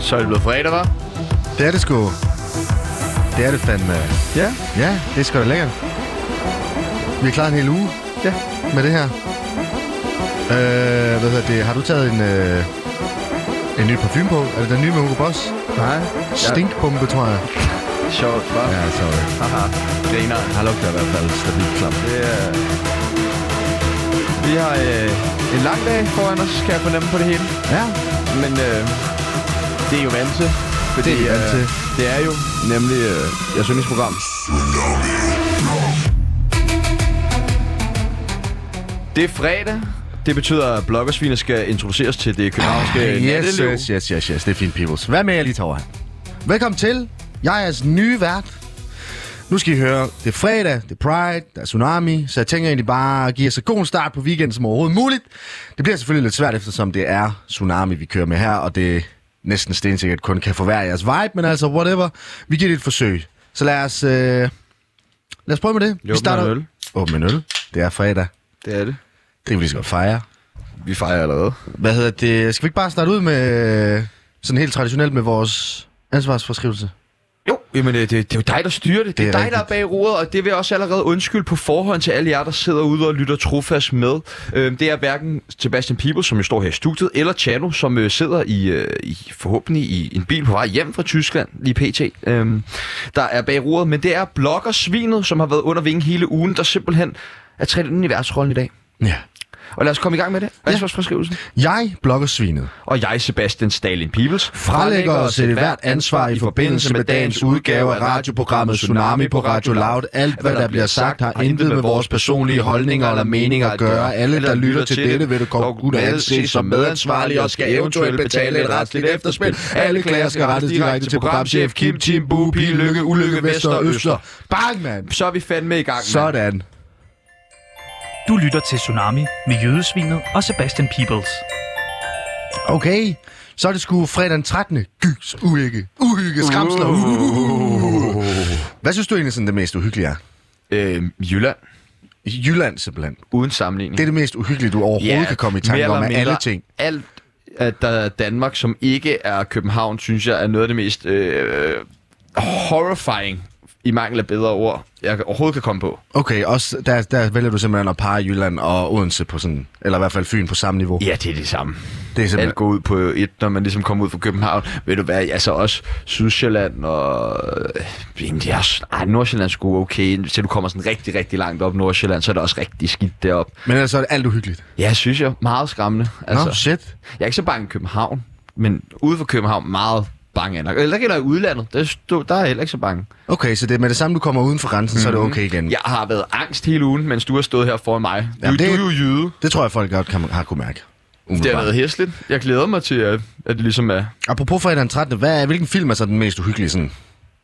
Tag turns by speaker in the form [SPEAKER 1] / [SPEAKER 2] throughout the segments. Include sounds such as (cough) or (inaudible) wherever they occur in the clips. [SPEAKER 1] så er det blevet fredag, var.
[SPEAKER 2] Det er det sgu. Det er det fandme.
[SPEAKER 1] Ja.
[SPEAKER 2] Ja, det er sgu da lækkert. Vi er klar en hel uge
[SPEAKER 1] Ja.
[SPEAKER 2] med det her. Øh, hvad hedder det? Har du taget en, øh, en ny parfume på? Er det den nye med Hugo Boss?
[SPEAKER 1] Nej.
[SPEAKER 2] Stinkbombe, tror jeg.
[SPEAKER 1] Sjovt, hva'?
[SPEAKER 2] Ja, sorry.
[SPEAKER 1] Haha. Griner.
[SPEAKER 3] Har lugter i hvert fald stabilt klam.
[SPEAKER 1] Det er... Vi har øh, en lang dag foran os, kan jeg fornemme på det hele.
[SPEAKER 2] Ja,
[SPEAKER 1] Men øh, det er jo vant til. Fordi,
[SPEAKER 2] Det er vi vant til.
[SPEAKER 1] Øh, det er jo nemlig øh, jeres yndlingsprogram. Det er fredag. Det betyder, at bloggersvinet skal introduceres til det københavnske
[SPEAKER 2] Ah, Yes,
[SPEAKER 1] Øh, natteliv.
[SPEAKER 2] yes, yes, yes, yes. Det er fint, peoples. Hvad med jer lige tager over her? Velkommen til. Jeg er jeres nye vært. Nu skal I høre, det er fredag, det er Pride, der er Tsunami, så jeg tænker egentlig bare at give jer så god en start på weekenden som overhovedet muligt. Det bliver selvfølgelig lidt svært, eftersom det er Tsunami, vi kører med her, og det er næsten stensikkert kun kan forværre jeres vibe, men altså whatever. Vi giver det et forsøg. Så lad os, øh, lad os prøve med det.
[SPEAKER 1] en øl.
[SPEAKER 2] Åbne en øl. Det er fredag.
[SPEAKER 1] Det er det.
[SPEAKER 2] Det kan vi lige så godt fejre.
[SPEAKER 1] Vi fejrer allerede.
[SPEAKER 2] Hvad hedder det? Skal vi ikke bare starte ud med øh, sådan helt traditionelt med vores ansvarsforskrivelse?
[SPEAKER 1] Jo, jamen øh, det, det er jo dig, der styrer det. Det,
[SPEAKER 2] Det
[SPEAKER 1] det
[SPEAKER 2] er
[SPEAKER 1] er, dig, der er bag roret, og det vil jeg også allerede undskylde på forhånd til alle jer, der sidder ude og lytter trofast med. Øhm, det er hverken Sebastian Pibel, som jo står her i studiet, eller Chano, som øh, sidder i, øh, i forhåbentlig i en bil på vej hjem fra Tyskland, lige pt., øhm, der er bag roret. Men det er bloggersvinet, som har været under vingen hele ugen, der simpelthen er træt ind i værtsrollen i dag.
[SPEAKER 2] Ja.
[SPEAKER 1] Og lad os komme i gang med det. Ansvarsforskrivelsen.
[SPEAKER 2] Jeg, bloggersvinet,
[SPEAKER 1] Og jeg, Sebastian Stalin Pibels,
[SPEAKER 2] fralægger os et hvert ansvar i forbindelse med dagens udgave af radioprogrammet Tsunami på Radio Loud. Alt, hvad der bliver sagt, har intet med vores personlige holdninger eller meninger at gøre. Alle, der lytter til dette, vil du godt kunne anses som medansvarlige og skal eventuelt betale et retsligt efterspil. Alle klager skal rettes direkte til programchef Kim Tim Bupi, Lykke, Ulykke, Vester og Øster. Bang, mand!
[SPEAKER 1] Så er vi fandme i gang, mand.
[SPEAKER 2] Sådan.
[SPEAKER 4] Du lytter til Tsunami med Jødesvinet og Sebastian Peebles.
[SPEAKER 2] Okay, så er det sgu fredag den 13. Gys, uhygge, uhygge, skramsler. Uh. Hvad synes du egentlig sådan det mest uhyggelige er?
[SPEAKER 1] øh, Jylland,
[SPEAKER 2] I Jylland simpelthen.
[SPEAKER 1] uden sammenligning.
[SPEAKER 2] Det er det mest uhyggelige, du overhovedet yeah, kan komme i tanke
[SPEAKER 1] mere
[SPEAKER 2] om
[SPEAKER 1] eller
[SPEAKER 2] af
[SPEAKER 1] mindre
[SPEAKER 2] alle ting.
[SPEAKER 1] Alt, at der er Danmark, som ikke er København, synes jeg er noget af det mest øh, horrifying, i mangel af bedre ord, jeg overhovedet kan komme på.
[SPEAKER 2] Okay, også der, der vælger du simpelthen at pare Jylland og Odense på sådan, eller i hvert fald Fyn på samme niveau.
[SPEAKER 1] Ja, det er det samme.
[SPEAKER 2] Det er
[SPEAKER 1] Alt
[SPEAKER 2] simpelthen...
[SPEAKER 1] går ud på et, når man ligesom kommer ud fra København. Ved du hvad, altså også Sydsjælland og... Øh, jamen, det er også, ej, Nordsjælland skulle okay. Til du kommer sådan rigtig, rigtig langt op Nordsjælland, så er det også rigtig skidt derop.
[SPEAKER 2] Men ellers så er det alt uhyggeligt.
[SPEAKER 1] Ja, synes jeg. Meget skræmmende.
[SPEAKER 2] Altså. Nå, shit.
[SPEAKER 1] Jeg er ikke så bange i København, men ude for København meget bange. Eller eller gælder i udlandet, der, stå, der er jeg heller ikke så bange.
[SPEAKER 2] Okay, så det er med det samme, du kommer uden for grænsen, mm-hmm. så er det okay igen.
[SPEAKER 1] Jeg har været angst hele ugen, mens du har stået her foran mig. Du,
[SPEAKER 2] Jamen,
[SPEAKER 1] Jamen,
[SPEAKER 2] det-
[SPEAKER 1] det... du er jo jyde.
[SPEAKER 2] Det tror jeg, folk godt kan, har kunne mærke.
[SPEAKER 1] Det har
[SPEAKER 2] Umiddelbart.
[SPEAKER 1] været hæsligt. Jeg glæder mig til, at, at det ligesom er...
[SPEAKER 2] Apropos fredag den 13. Hvad er, hvilken film er så den mest uhyggelige sådan?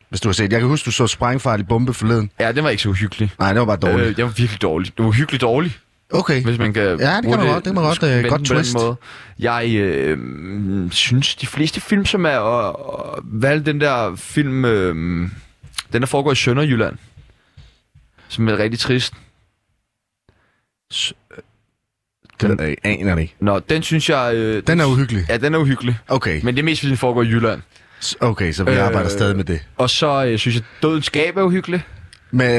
[SPEAKER 2] Hvis du har set. Jeg kan huske, du så Sprængfarlig Bombe forleden.
[SPEAKER 1] Ja, den var ikke så uhyggelig.
[SPEAKER 2] Nej, det var bare dårligt.
[SPEAKER 1] Øh, det var virkelig dårlig. Det var hyggeligt dårlig,
[SPEAKER 2] Øh, okay.
[SPEAKER 1] hvis man kan... Ja, det
[SPEAKER 2] kan man godt. Det kan man godt, øh, godt twist.
[SPEAKER 1] Måde. Jeg øh, synes, de fleste film, som er... Og, og, hvad er det, den der film... Øh, den, der foregår i Sønderjylland. Som er rigtig trist.
[SPEAKER 2] Den øh, aner det ikke.
[SPEAKER 1] Nå, den synes jeg... Øh,
[SPEAKER 2] Den er uhyggelig.
[SPEAKER 1] Ja, den er uhyggelig.
[SPEAKER 2] Okay,
[SPEAKER 1] Men det er mest, fordi den foregår i Jylland.
[SPEAKER 2] S- okay så vi øh,
[SPEAKER 1] Øh,
[SPEAKER 2] arbejder stadig med det.
[SPEAKER 1] Og så øh, synes jeg, Dødens Skab er uhyggelig.
[SPEAKER 2] Med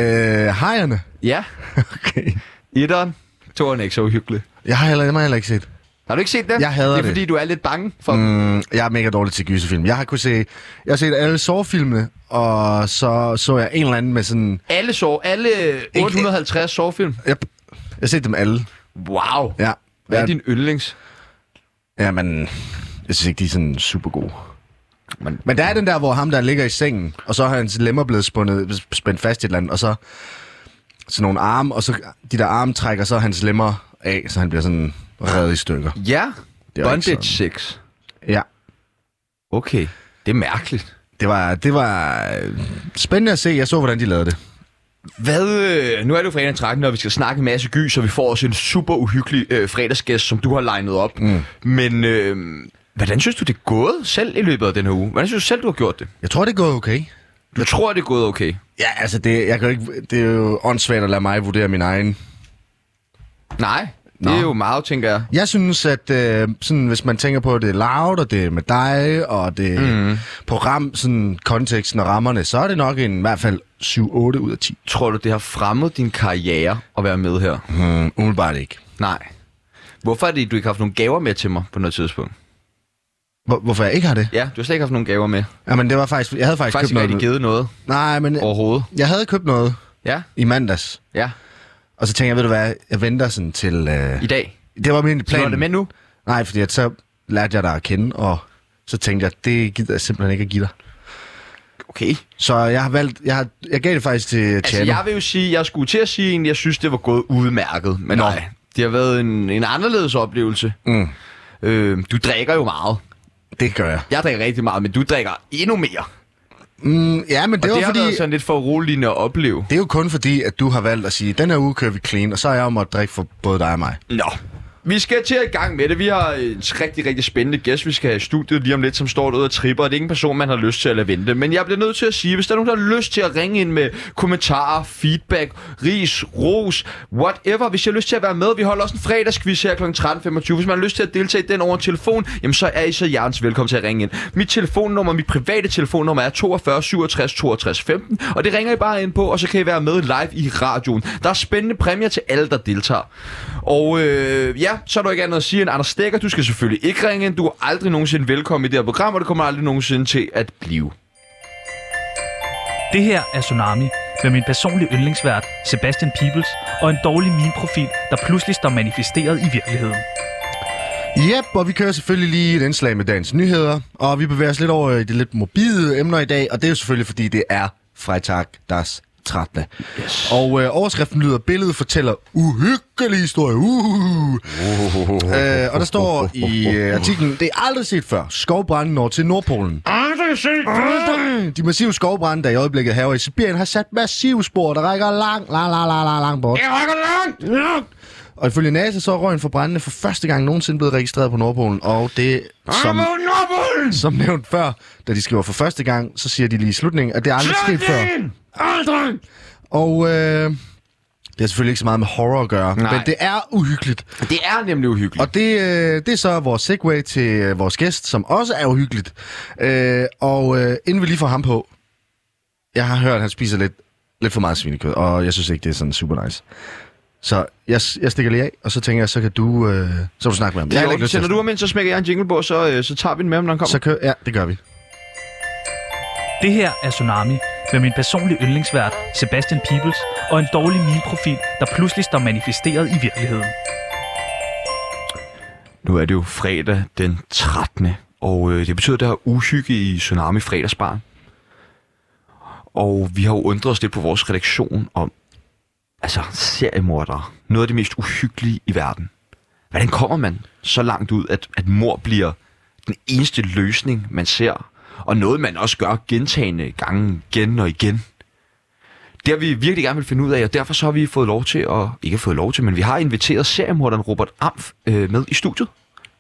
[SPEAKER 2] øh, hejerne.
[SPEAKER 1] Ja.
[SPEAKER 2] Okay.
[SPEAKER 1] Etteren. Toren er ikke så uhyggelig.
[SPEAKER 2] Jeg har heller, dem har jeg heller ikke set.
[SPEAKER 1] Har du ikke set den?
[SPEAKER 2] Jeg hader
[SPEAKER 1] det. er,
[SPEAKER 2] det.
[SPEAKER 1] fordi du er lidt bange for... Mm.
[SPEAKER 2] Mm, jeg er mega dårlig til gyserfilm. Jeg har kunne se, jeg har set alle sårfilmene, og så så jeg en eller anden med sådan...
[SPEAKER 1] Alle, sår, alle 850 sårfilm.
[SPEAKER 2] Yep, jeg har set dem alle.
[SPEAKER 1] Wow.
[SPEAKER 2] Ja.
[SPEAKER 1] Hvad er
[SPEAKER 2] Ja,
[SPEAKER 1] din yndlings?
[SPEAKER 2] Jamen, jeg synes ikke, de er sådan super gode.
[SPEAKER 1] Men-
[SPEAKER 2] Men der er den der, hvor ham der ligger i sengen, og så har hans lemmer blevet spundet, spændt fast i et eller andet, og så sådan nogle arme, og så de der arme trækker så hans lemmer af, så han bliver sådan reddet i stykker.
[SPEAKER 1] Ja.
[SPEAKER 2] Det var ikke
[SPEAKER 1] Bondage
[SPEAKER 2] sådan.
[SPEAKER 1] 6.
[SPEAKER 2] Ja,
[SPEAKER 1] Okay. Det er mærkeligt.
[SPEAKER 2] det var, det var øh, spændende at se. Jeg så, hvordan de lavede det.
[SPEAKER 1] Hvad, øh, nu er det jo fredag den 13, og vi skal snakke en masse gys, og vi får også en super uhyggelig øh, fredagsgæst, som du har legnet op. Mm. Men øh, hvordan synes du, det er gået selv i løbet af den her uge? Hvordan synes du selv, du har gjort det?
[SPEAKER 2] Jeg tror, det er gået okay.
[SPEAKER 1] Du tror, det er gået okay.
[SPEAKER 2] Ja, altså, det, jeg kan jo ikke, det er jo åndssvagt at lade mig vurdere min egen
[SPEAKER 1] Nej. Det er jo meget, tænker jeg.
[SPEAKER 2] Jeg synes, at øh, sådan, hvis man tænker på, at det er loud, og det er med dig, og det er mm. på ram, sådan, konteksten og rammerne, så er det nok en, i hvert fald 7-8 ud af 10.
[SPEAKER 1] Tror du, det har fremmet din karriere at være med her?
[SPEAKER 2] Hmm, umiddelbart ikke.
[SPEAKER 1] Nej. Hvorfor er det, du ikke har haft nogle gaver med til mig på noget tidspunkt?
[SPEAKER 2] Hvor, hvorfor jeg ikke har det?
[SPEAKER 1] Ja, du har slet ikke haft nogle gaver med.
[SPEAKER 2] Jamen, det var faktisk... Jeg havde faktisk,
[SPEAKER 1] Faktisk ikke
[SPEAKER 2] købt
[SPEAKER 1] rigtig givet
[SPEAKER 2] noget.
[SPEAKER 1] noget
[SPEAKER 2] Nej, men
[SPEAKER 1] overhovedet.
[SPEAKER 2] jeg havde købt noget
[SPEAKER 1] Ja,
[SPEAKER 2] i mandags.
[SPEAKER 1] ja.
[SPEAKER 2] Og så tænkte jeg, ved du hvad, jeg venter sådan til... Øh...
[SPEAKER 1] I dag.
[SPEAKER 2] Det var min
[SPEAKER 1] Planen.
[SPEAKER 2] plan.
[SPEAKER 1] Du det med nu?
[SPEAKER 2] Nej, fordi at så lærte jeg dig at kende, og så tænkte jeg, det gider jeg simpelthen ikke at give dig.
[SPEAKER 1] Okay.
[SPEAKER 2] Så jeg har valgt... Jeg, har, jeg gav det faktisk til
[SPEAKER 1] Altså,
[SPEAKER 2] Tjano.
[SPEAKER 1] jeg vil jo sige, jeg skulle til at sige egentlig, jeg synes, det var gået udmærket. Men
[SPEAKER 2] Nå.
[SPEAKER 1] nej, det har været en, en anderledes oplevelse.
[SPEAKER 2] Mm.
[SPEAKER 1] Øh, du drikker jo meget.
[SPEAKER 2] Det gør jeg.
[SPEAKER 1] Jeg drikker rigtig meget, men du drikker endnu mere.
[SPEAKER 2] Mm, ja, men
[SPEAKER 1] Og
[SPEAKER 2] det,
[SPEAKER 1] det,
[SPEAKER 2] var
[SPEAKER 1] det har
[SPEAKER 2] fordi...
[SPEAKER 1] fordi... været sådan lidt for roligende at opleve.
[SPEAKER 2] Det er jo kun fordi, at du har valgt at sige, den her uge kører vi clean, og så er jeg jo måttet drikke for både dig og mig.
[SPEAKER 1] Nå. Vi skal til i gang med det. Vi har en rigtig, rigtig spændende gæst, vi skal have i studiet lige om lidt, som står derude og tripper, og det er ikke en person, man har lyst til at lade vente. Men jeg bliver nødt til at sige, hvis der er nogen, der har lyst til at ringe ind med kommentarer, feedback, ris, ros, whatever. Hvis jeg har lyst til at være med, vi holder også en fredagsquiz her kl. 13.25. Hvis man har lyst til at deltage i den over en telefon, jamen så er I så hjertens velkommen til at ringe ind. Mit telefonnummer, mit private telefonnummer er 42 67 62 15, og det ringer I bare ind på, og så kan I være med live i radioen. Der er spændende præmier til alle, der deltager. Og øh, ja, så er der ikke andet at sige end Anders Stikker, du skal selvfølgelig ikke ringe ind. Du er aldrig nogensinde velkommen i det her program, og det kommer aldrig nogensinde til at blive.
[SPEAKER 4] Det her er Tsunami med min personlige yndlingsvært, Sebastian Peebles, og en dårlig meme-profil, der pludselig står manifesteret i virkeligheden.
[SPEAKER 2] Yep, og vi kører selvfølgelig lige et indslag med dagens nyheder, og vi bevæger os lidt over i de lidt mobile emner i dag, og det er jo selvfølgelig, fordi det er Freitag das 13. Yes. Og øh, overskriften lyder, billedet fortæller uhyggelig historie. Uh. Øh, og der står i øh, artiklen, det er aldrig set før. Skovbranden når til Nordpolen. De massive skovbrænde, der i øjeblikket haver i Sibirien, har sat massive spor, der rækker langt, langt, langt, langt, langt, langt bort. Det rækker langt, langt. Og ifølge NASA, så er røgen fra brændende for første gang nogensinde blevet registreret på Nordpolen, og det som... Som nævnt før, da de skriver for første gang, så siger de lige i slutningen, at det aldrig er sket før. Aldrig! Og øh, det er selvfølgelig ikke så meget med horror at gøre,
[SPEAKER 1] Nej.
[SPEAKER 2] men det er uhyggeligt.
[SPEAKER 1] Det er nemlig uhyggeligt.
[SPEAKER 2] Og det, øh, det er så vores segue til øh, vores gæst, som også er uhyggeligt. Øh, og øh, inden vi lige får ham på, jeg har hørt, at han spiser lidt, lidt for meget svinekød, og jeg synes ikke, det er sådan super nice. Så jeg, jeg stikker lige af, og så tænker jeg, så kan du, øh, så kan du snakke med ham.
[SPEAKER 1] det
[SPEAKER 2] Jeg har
[SPEAKER 1] er
[SPEAKER 2] ikke
[SPEAKER 1] jo,
[SPEAKER 2] lyst til
[SPEAKER 1] sender
[SPEAKER 2] at-
[SPEAKER 1] du ham ind, så smækker jeg en jingle på, og så, øh, så tager vi den med ham, når han kommer.
[SPEAKER 2] Så kører, ja, det gør vi.
[SPEAKER 4] Det her er Tsunami med min personlige yndlingsvært, Sebastian Peebles, og en dårlig meme-profil, der pludselig står manifesteret i virkeligheden.
[SPEAKER 1] Nu er det jo fredag den 13. Og øh, det betyder, at der er uhygge i Tsunami fredagsbar. Og vi har jo undret os lidt på vores redaktion om, altså seriemordere, noget af det mest uhyggelige i verden. Hvordan kommer man så langt ud, at, at mor bliver den eneste løsning, man ser, og noget, man også gør gentagende gange igen og igen? Det har vi virkelig gerne vil finde ud af, og derfor så har vi fået lov til, og ikke fået lov til, men vi har inviteret seriemorderen Robert Amf øh, med i studiet.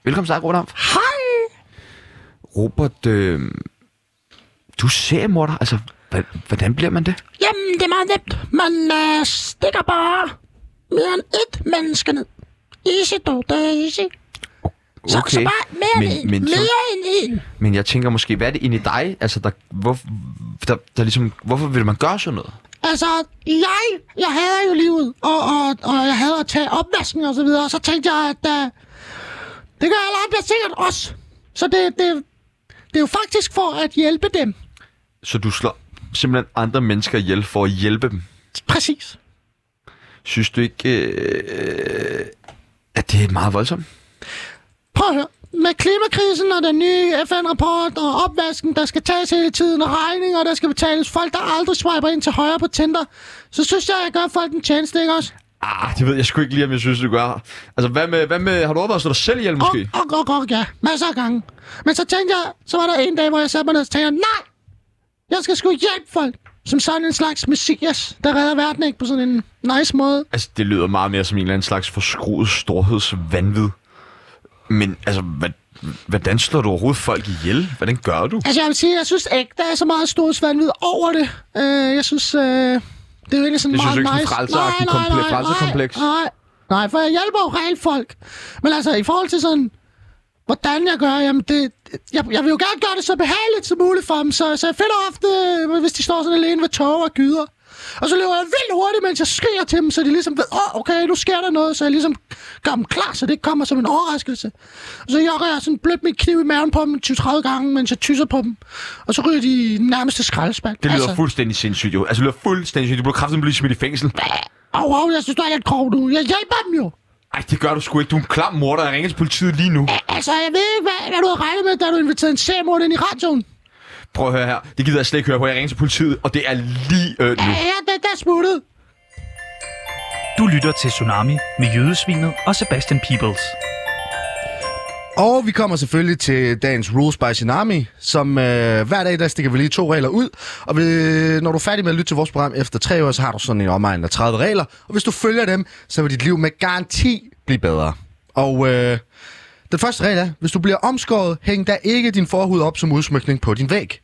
[SPEAKER 1] Velkommen til dig, Robert Amf. Hej! Robert, øh, du er seriemorder, altså, hva- hvordan bliver man det?
[SPEAKER 5] Jamen, det er meget nemt. Man øh, stikker bare mere end et menneske ned. Easy dog, det er easy. Så, så bare mere
[SPEAKER 1] men,
[SPEAKER 5] end en.
[SPEAKER 1] men, så,
[SPEAKER 5] mere end en.
[SPEAKER 1] men jeg tænker måske, hvad er det inde i dig? Altså, der, hvor, der, der ligesom, hvorfor vil man gøre sådan noget?
[SPEAKER 5] Altså, jeg, jeg hader jo livet, og, og, og jeg hader at tage opvasken og så videre. Og så tænkte jeg, at øh, det gør alle andre sikkert også. Så det, det, det er jo faktisk for at hjælpe dem.
[SPEAKER 1] Så du slår simpelthen andre mennesker ihjel for at hjælpe dem.
[SPEAKER 5] Præcis.
[SPEAKER 1] Synes du ikke, øh, at det er meget voldsomt?
[SPEAKER 5] Prøv at høre. Med klimakrisen og den nye FN-rapport og opvasken, der skal tages hele tiden, og regninger, der skal betales, folk, der aldrig swiper ind til højre på Tinder, så synes jeg, jeg gør folk en tjeneste, ikke også?
[SPEAKER 1] Ah, det ved jeg sgu ikke lige, om jeg synes, du gør. Altså, hvad med, hvad med har du overvejet at slå dig selv ihjel, måske?
[SPEAKER 5] Og, og, og, og, ja, masser af gange. Men så tænkte jeg, så var der en dag, hvor jeg satte mig ned og tænkte, jeg, nej, jeg skal sgu hjælpe folk. Som sådan en slags messias, der redder verden, ikke? På sådan en nice måde.
[SPEAKER 1] Altså, det lyder meget mere som en eller anden slags forskruet storhedsvanvid. Men altså, hvad, hvordan slår du overhovedet folk ihjel? Hvordan gør du?
[SPEAKER 5] Altså, jeg vil sige, jeg synes ikke, der er så meget storhedsvandvid over det. Øh, jeg synes, øh, det er jo egentlig sådan
[SPEAKER 1] Det synes
[SPEAKER 5] meget
[SPEAKER 1] du ikke, sådan
[SPEAKER 5] nice.
[SPEAKER 1] frelseragtigt komple- frelserkompleks?
[SPEAKER 5] nej, nej, Nej, for jeg hjælper jo reelt folk. Men altså, i forhold til sådan, hvordan jeg gør, jamen det... Jeg, jeg vil jo gerne gøre det så behageligt som muligt for dem, så, så jeg finder ofte, øh, hvis de står sådan alene ved tog og gyder. Og så løber jeg vildt hurtigt, mens jeg skriger til dem, så de ligesom ved, åh, oh, okay, nu sker der noget, så jeg ligesom gør dem klar, så det ikke kommer som en overraskelse. Og så jokker jeg sådan blødt mit kniv i maven på dem 20-30 gange, mens jeg tysser på dem. Og så ryger de i den nærmeste skraldespand.
[SPEAKER 1] Det lyder
[SPEAKER 5] altså,
[SPEAKER 1] fuldstændig sindssygt, jo. Altså, det lyder fuldstændig sindssygt. Du bliver kraftigt blive smidt i fængsel.
[SPEAKER 5] Åh, oh, oh, jeg synes, du er lidt grov nu. Jeg hjælper dem jo.
[SPEAKER 1] Ej, det gør du sgu ikke. Du er en klam morder. Jeg ringer til politiet lige nu.
[SPEAKER 5] Altså, jeg ved ikke, hvad, hvad du havde regnet med, da du inviterede en seriemord ind i radioen.
[SPEAKER 1] Prøv at høre her. Det gider jeg slet ikke høre på. Jeg ringer til politiet, og det er lige øh, nu.
[SPEAKER 5] Ja, ja, den der er smuttet.
[SPEAKER 4] Du lytter til Tsunami med Jødesvinet og Sebastian Peebles.
[SPEAKER 2] Og vi kommer selvfølgelig til dagens Rules by Tsunami, som øh, hver dag, der stikker vi lige to regler ud. Og øh, når du er færdig med at lytte til vores program efter tre år, så har du sådan en omegn af 30 regler. Og hvis du følger dem, så vil dit liv med garanti blive bedre. Og øh, den første regel er, hvis du bliver omskåret, hæng da ikke din forhud op som udsmykning på din væg.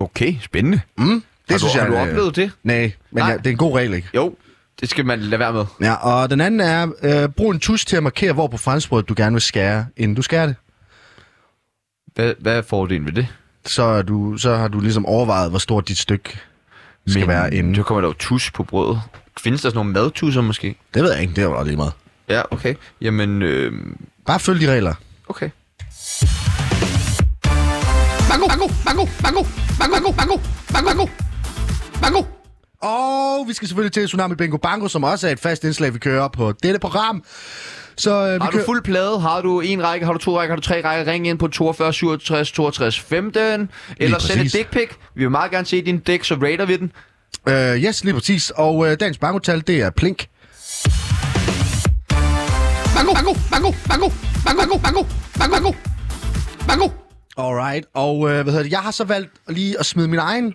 [SPEAKER 1] Okay, spændende.
[SPEAKER 2] Det
[SPEAKER 1] har du, har du
[SPEAKER 2] er en, øh,
[SPEAKER 1] oplevet det?
[SPEAKER 2] Nej, men
[SPEAKER 1] Nej.
[SPEAKER 2] Ja, det er en god regel, ikke?
[SPEAKER 1] Jo, det skal man lade være med.
[SPEAKER 2] Ja, og den anden er, øh, brug en tusch til at markere, hvor på franskbrødet du gerne vil skære, inden du skærer det.
[SPEAKER 1] Hvad, hvad er fordelen ved det?
[SPEAKER 2] Så, er du, så har du ligesom overvejet, hvor stort dit stykke skal
[SPEAKER 1] Men
[SPEAKER 2] være inden.
[SPEAKER 1] Så kommer der jo tus på brødet. Findes der sådan nogle madtusser måske?
[SPEAKER 2] Det ved jeg ikke, det er jo lige meget.
[SPEAKER 1] Ja, okay. Jamen, øh,
[SPEAKER 2] Bare følg de regler.
[SPEAKER 1] okay.
[SPEAKER 2] Og vi skal selvfølgelig til Tsunami Bingo Bango, som også er et fast indslag, vi kører på dette program. Så øh, vi
[SPEAKER 1] Har du
[SPEAKER 2] kører...
[SPEAKER 1] fuld plade? Har du en række? Har du to rækker? Har du tre rækker? Ring ind på 42 67 62 15. Eller send et
[SPEAKER 2] præcis.
[SPEAKER 1] dick pic. Vi vil meget gerne se din dick, så rater vi den.
[SPEAKER 2] Øh, yes, lige præcis. Og øh, dagens bangotal, det er plink. Bango, bango, bango, bango, bango, bango, bango, bango, bango, bango. Alright, og øh, hvad hedder det, jeg har så valgt lige at smide min egen.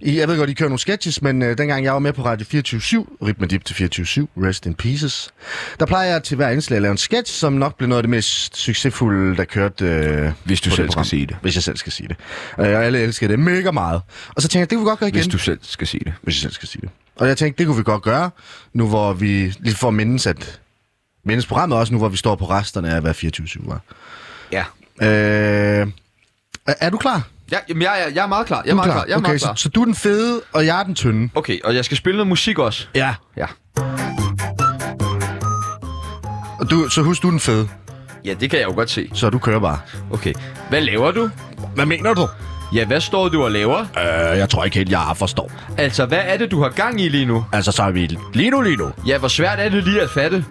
[SPEAKER 2] I, jeg ved godt, I kører nogle sketches, men øh, dengang jeg var med på Radio 24-7, Rip med Dip til 24-7, Rest in Pieces, der plejer jeg til hver indslag at lave en sketch, som nok blev noget af det mest succesfulde, der kørte øh,
[SPEAKER 1] Hvis du
[SPEAKER 2] på
[SPEAKER 1] selv skal
[SPEAKER 2] program.
[SPEAKER 1] sige det.
[SPEAKER 2] Hvis jeg selv skal sige det. Øh, og alle elskede det mega meget. Og så tænkte jeg, det kunne vi godt gøre igen
[SPEAKER 1] Hvis du selv skal sige det.
[SPEAKER 2] hvis jeg selv skal sige det. Og jeg tænkte, det kunne vi godt gøre, nu hvor vi lige får mindes, at mindes programmet også, nu hvor vi står på resterne af, hvad 24-7 var.
[SPEAKER 1] Ja.
[SPEAKER 2] Øh, er- er du klar?
[SPEAKER 1] Ja, jamen, jeg, jeg, jeg er meget klar. Jeg er
[SPEAKER 2] du
[SPEAKER 1] meget klar. Jeg er
[SPEAKER 2] okay,
[SPEAKER 1] meget klar.
[SPEAKER 2] Så, så du er den fede, og jeg er den tynde.
[SPEAKER 1] Okay, og jeg skal spille noget musik også.
[SPEAKER 2] Ja.
[SPEAKER 1] Ja.
[SPEAKER 2] Og du, så husk, du er den fede,
[SPEAKER 1] Ja, det kan jeg jo godt se.
[SPEAKER 2] så du kører bare.
[SPEAKER 1] Okay. Hvad laver du?
[SPEAKER 2] Hvad mener du?
[SPEAKER 1] Ja, hvad står du og laver?
[SPEAKER 2] Øh, jeg tror ikke helt, jeg forstår.
[SPEAKER 1] Altså, hvad er det, du har gang i lige nu?
[SPEAKER 2] Altså, så er vi lige nu, lige nu.
[SPEAKER 1] Ja, hvor svært er det lige at fatte?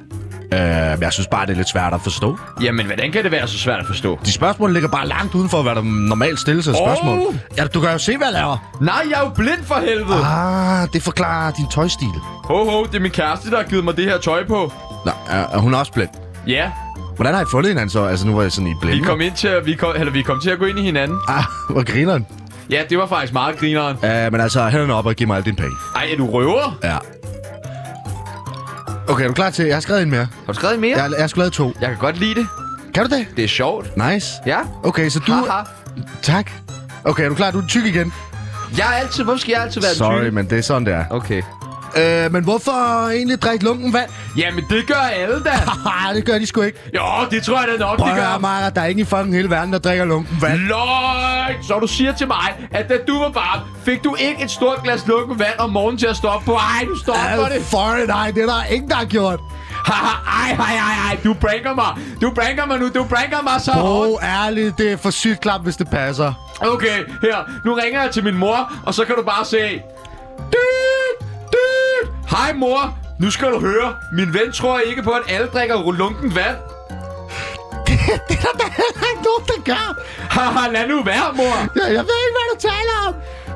[SPEAKER 2] Øh, men jeg synes bare, det er lidt svært at forstå.
[SPEAKER 1] Jamen, hvordan kan det være så svært at forstå?
[SPEAKER 2] De spørgsmål ligger bare langt uden for, hvad der normalt stilles af spørgsmål.
[SPEAKER 1] Åh!
[SPEAKER 2] Ja, du kan jo se, hvad jeg laver.
[SPEAKER 1] Nej, jeg er jo blind for helvede!
[SPEAKER 2] Ah, det forklarer din tøjstil.
[SPEAKER 1] Ho, ho, det er min kæreste, der har givet mig det her tøj på.
[SPEAKER 2] Nå, er, er hun også blind?
[SPEAKER 1] Ja,
[SPEAKER 2] Hvordan har I fundet hinanden så? Altså, nu var jeg sådan i
[SPEAKER 1] vi
[SPEAKER 2] blinde.
[SPEAKER 1] kom, ind til at, vi kom, eller, vi kom til at gå ind i hinanden.
[SPEAKER 2] Ah, hvor grineren.
[SPEAKER 1] Ja, det var faktisk meget grineren.
[SPEAKER 2] Uh, men altså, hænderne op og giv mig alle dine penge.
[SPEAKER 1] Ej, er du røver?
[SPEAKER 2] Ja. Okay, er du klar til... Jeg har skrevet en mere.
[SPEAKER 1] Har du skrevet mere?
[SPEAKER 2] Jeg, jeg har sgu lavet to.
[SPEAKER 1] Jeg kan godt lide det.
[SPEAKER 2] Kan du det?
[SPEAKER 1] Det er sjovt.
[SPEAKER 2] Nice.
[SPEAKER 1] Ja.
[SPEAKER 2] Okay, så du...
[SPEAKER 1] Haha.
[SPEAKER 2] Tak. Okay, er du klar? Du er tyk igen.
[SPEAKER 1] Jeg er altid... Hvorfor skal jeg altid være den
[SPEAKER 2] Sorry,
[SPEAKER 1] tykke?
[SPEAKER 2] men det er sådan, det er.
[SPEAKER 1] Okay.
[SPEAKER 2] Uh, men hvorfor egentlig drikke lunken vand?
[SPEAKER 1] Jamen, det gør alle da.
[SPEAKER 2] Ah, det gør de sgu ikke.
[SPEAKER 1] jo, det tror jeg da nok,
[SPEAKER 2] Prøv
[SPEAKER 1] det
[SPEAKER 2] at
[SPEAKER 1] gør.
[SPEAKER 2] høre, Mara, der er ingen i fucking hele verden, der drikker lunken vand.
[SPEAKER 1] Løgn! Så du siger til mig, at da du var barn, fik du ikke et stort glas lukket vand om morgenen til at stå op på? Ej, du står op for det!
[SPEAKER 2] for nej, det er der ingen, der har gjort.
[SPEAKER 1] Haha, ej, ej, ej, ej, du pranker mig! Du pranker mig nu, du pranker mig så
[SPEAKER 2] Åh,
[SPEAKER 1] hårdt!
[SPEAKER 2] oh, ærligt, det er for sygt klap, hvis det (laughs) passer.
[SPEAKER 1] Okay, her, nu ringer jeg til min mor, og så kan du bare se... Dyt, dyt. Hej mor, nu skal du høre. Min ven tror ikke på, at alle drikker lunken vand.
[SPEAKER 5] Der er ikke nogen, der gør.
[SPEAKER 1] Haha, lad nu være, mor!
[SPEAKER 5] Jeg, jeg ved ikke, hvad du taler om.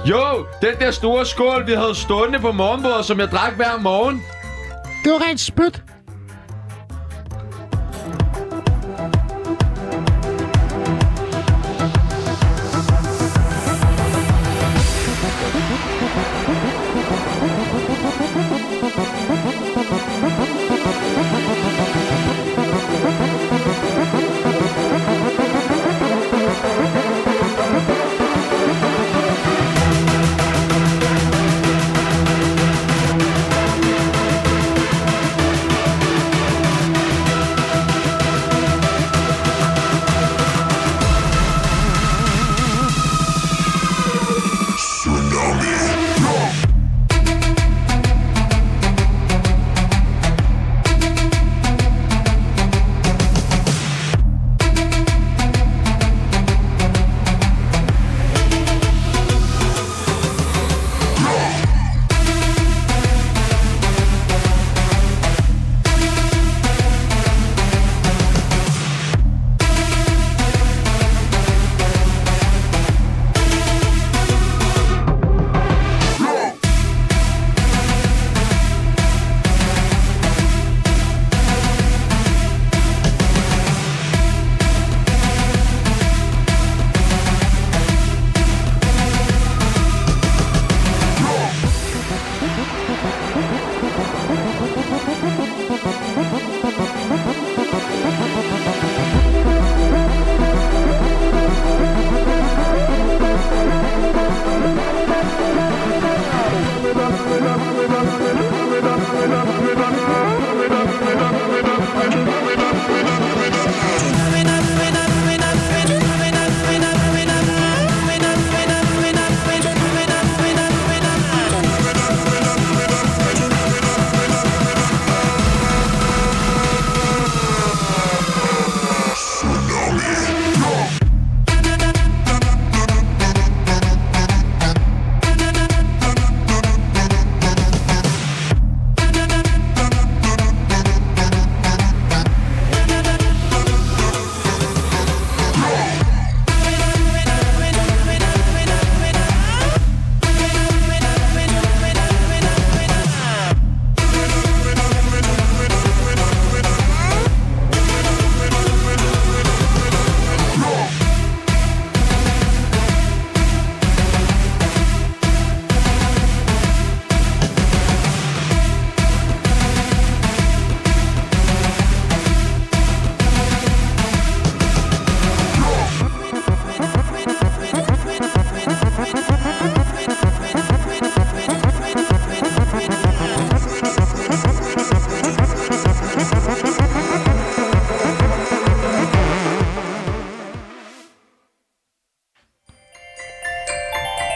[SPEAKER 1] Jo, den der store skål, vi havde stående på morgenbordet, som jeg drak hver morgen.
[SPEAKER 5] Det var rent spyt.
[SPEAKER 6] Thank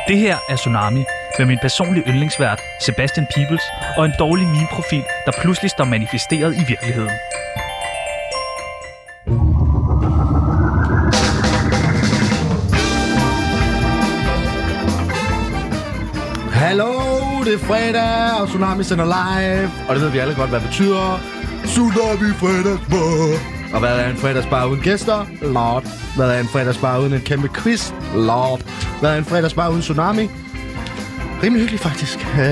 [SPEAKER 4] Det her er Tsunami med min personlige yndlingsvært Sebastian Peebles og en dårlig meme-profil, der pludselig står manifesteret i virkeligheden.
[SPEAKER 2] Hallo, det er fredag, og Tsunami sender live. Og det ved vi alle godt, hvad det betyder. Tsunami fredagsbar. Og hvad er en fredagsbar uden gæster? Lord. Hvad er en fredagsbar uden en kæmpe quiz? Lord. Hvad er en fredagsbar uden Tsunami? Rimelig hyggeligt, faktisk. Øh,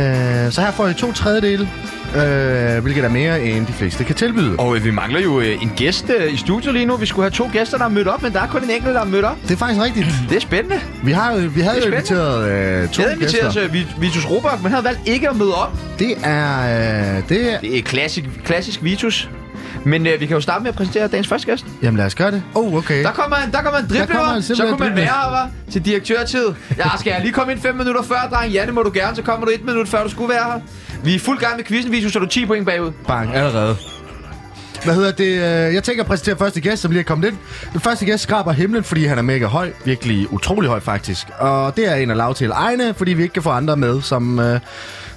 [SPEAKER 2] så her får I to tredjedele, øh, hvilket er mere, end de fleste kan tilbyde.
[SPEAKER 1] Og øh, vi mangler jo øh, en gæst øh, i studiet lige nu. Vi skulle have to gæster, der er mødt op, men der er kun en enkelt, der er mødt op.
[SPEAKER 2] Det er faktisk rigtigt.
[SPEAKER 1] Det er spændende.
[SPEAKER 2] Vi, har, jo- vi havde
[SPEAKER 1] Det
[SPEAKER 2] jo
[SPEAKER 1] er
[SPEAKER 2] inviteret øh, to
[SPEAKER 1] Jeg havde inviteret
[SPEAKER 2] gæster.
[SPEAKER 1] til Vi- Vitus Robak, men han havde valgt ikke at møde op.
[SPEAKER 2] Det er... Øh, det er...
[SPEAKER 1] Det er klassisk, klassisk Vitus. Men øh, vi kan jo starte med at præsentere dagens første gæst.
[SPEAKER 2] Jamen lad os gøre det. Oh, okay.
[SPEAKER 1] Der kommer en, der kommer en driblever,
[SPEAKER 2] kommer en
[SPEAKER 1] så
[SPEAKER 2] simpelthen
[SPEAKER 1] kunne man
[SPEAKER 2] dribler.
[SPEAKER 1] være her, hva'? til direktørtid. Ja, skal jeg lige komme ind 5 minutter før, dreng? Ja, det må du gerne, så kommer du et minut før, du skulle være her. Vi er fuld gang med quizzen, Vitus, så er du 10 point bagud.
[SPEAKER 2] Bang, allerede. Hvad hedder det? øh, Jeg tænker at præsentere første gæst, som lige er kommet ind. Den første gæst skraber himlen, fordi han er mega høj. Virkelig utrolig høj, faktisk. Og det er en af lavtale egne, fordi vi ikke kan få andre med, som, øh,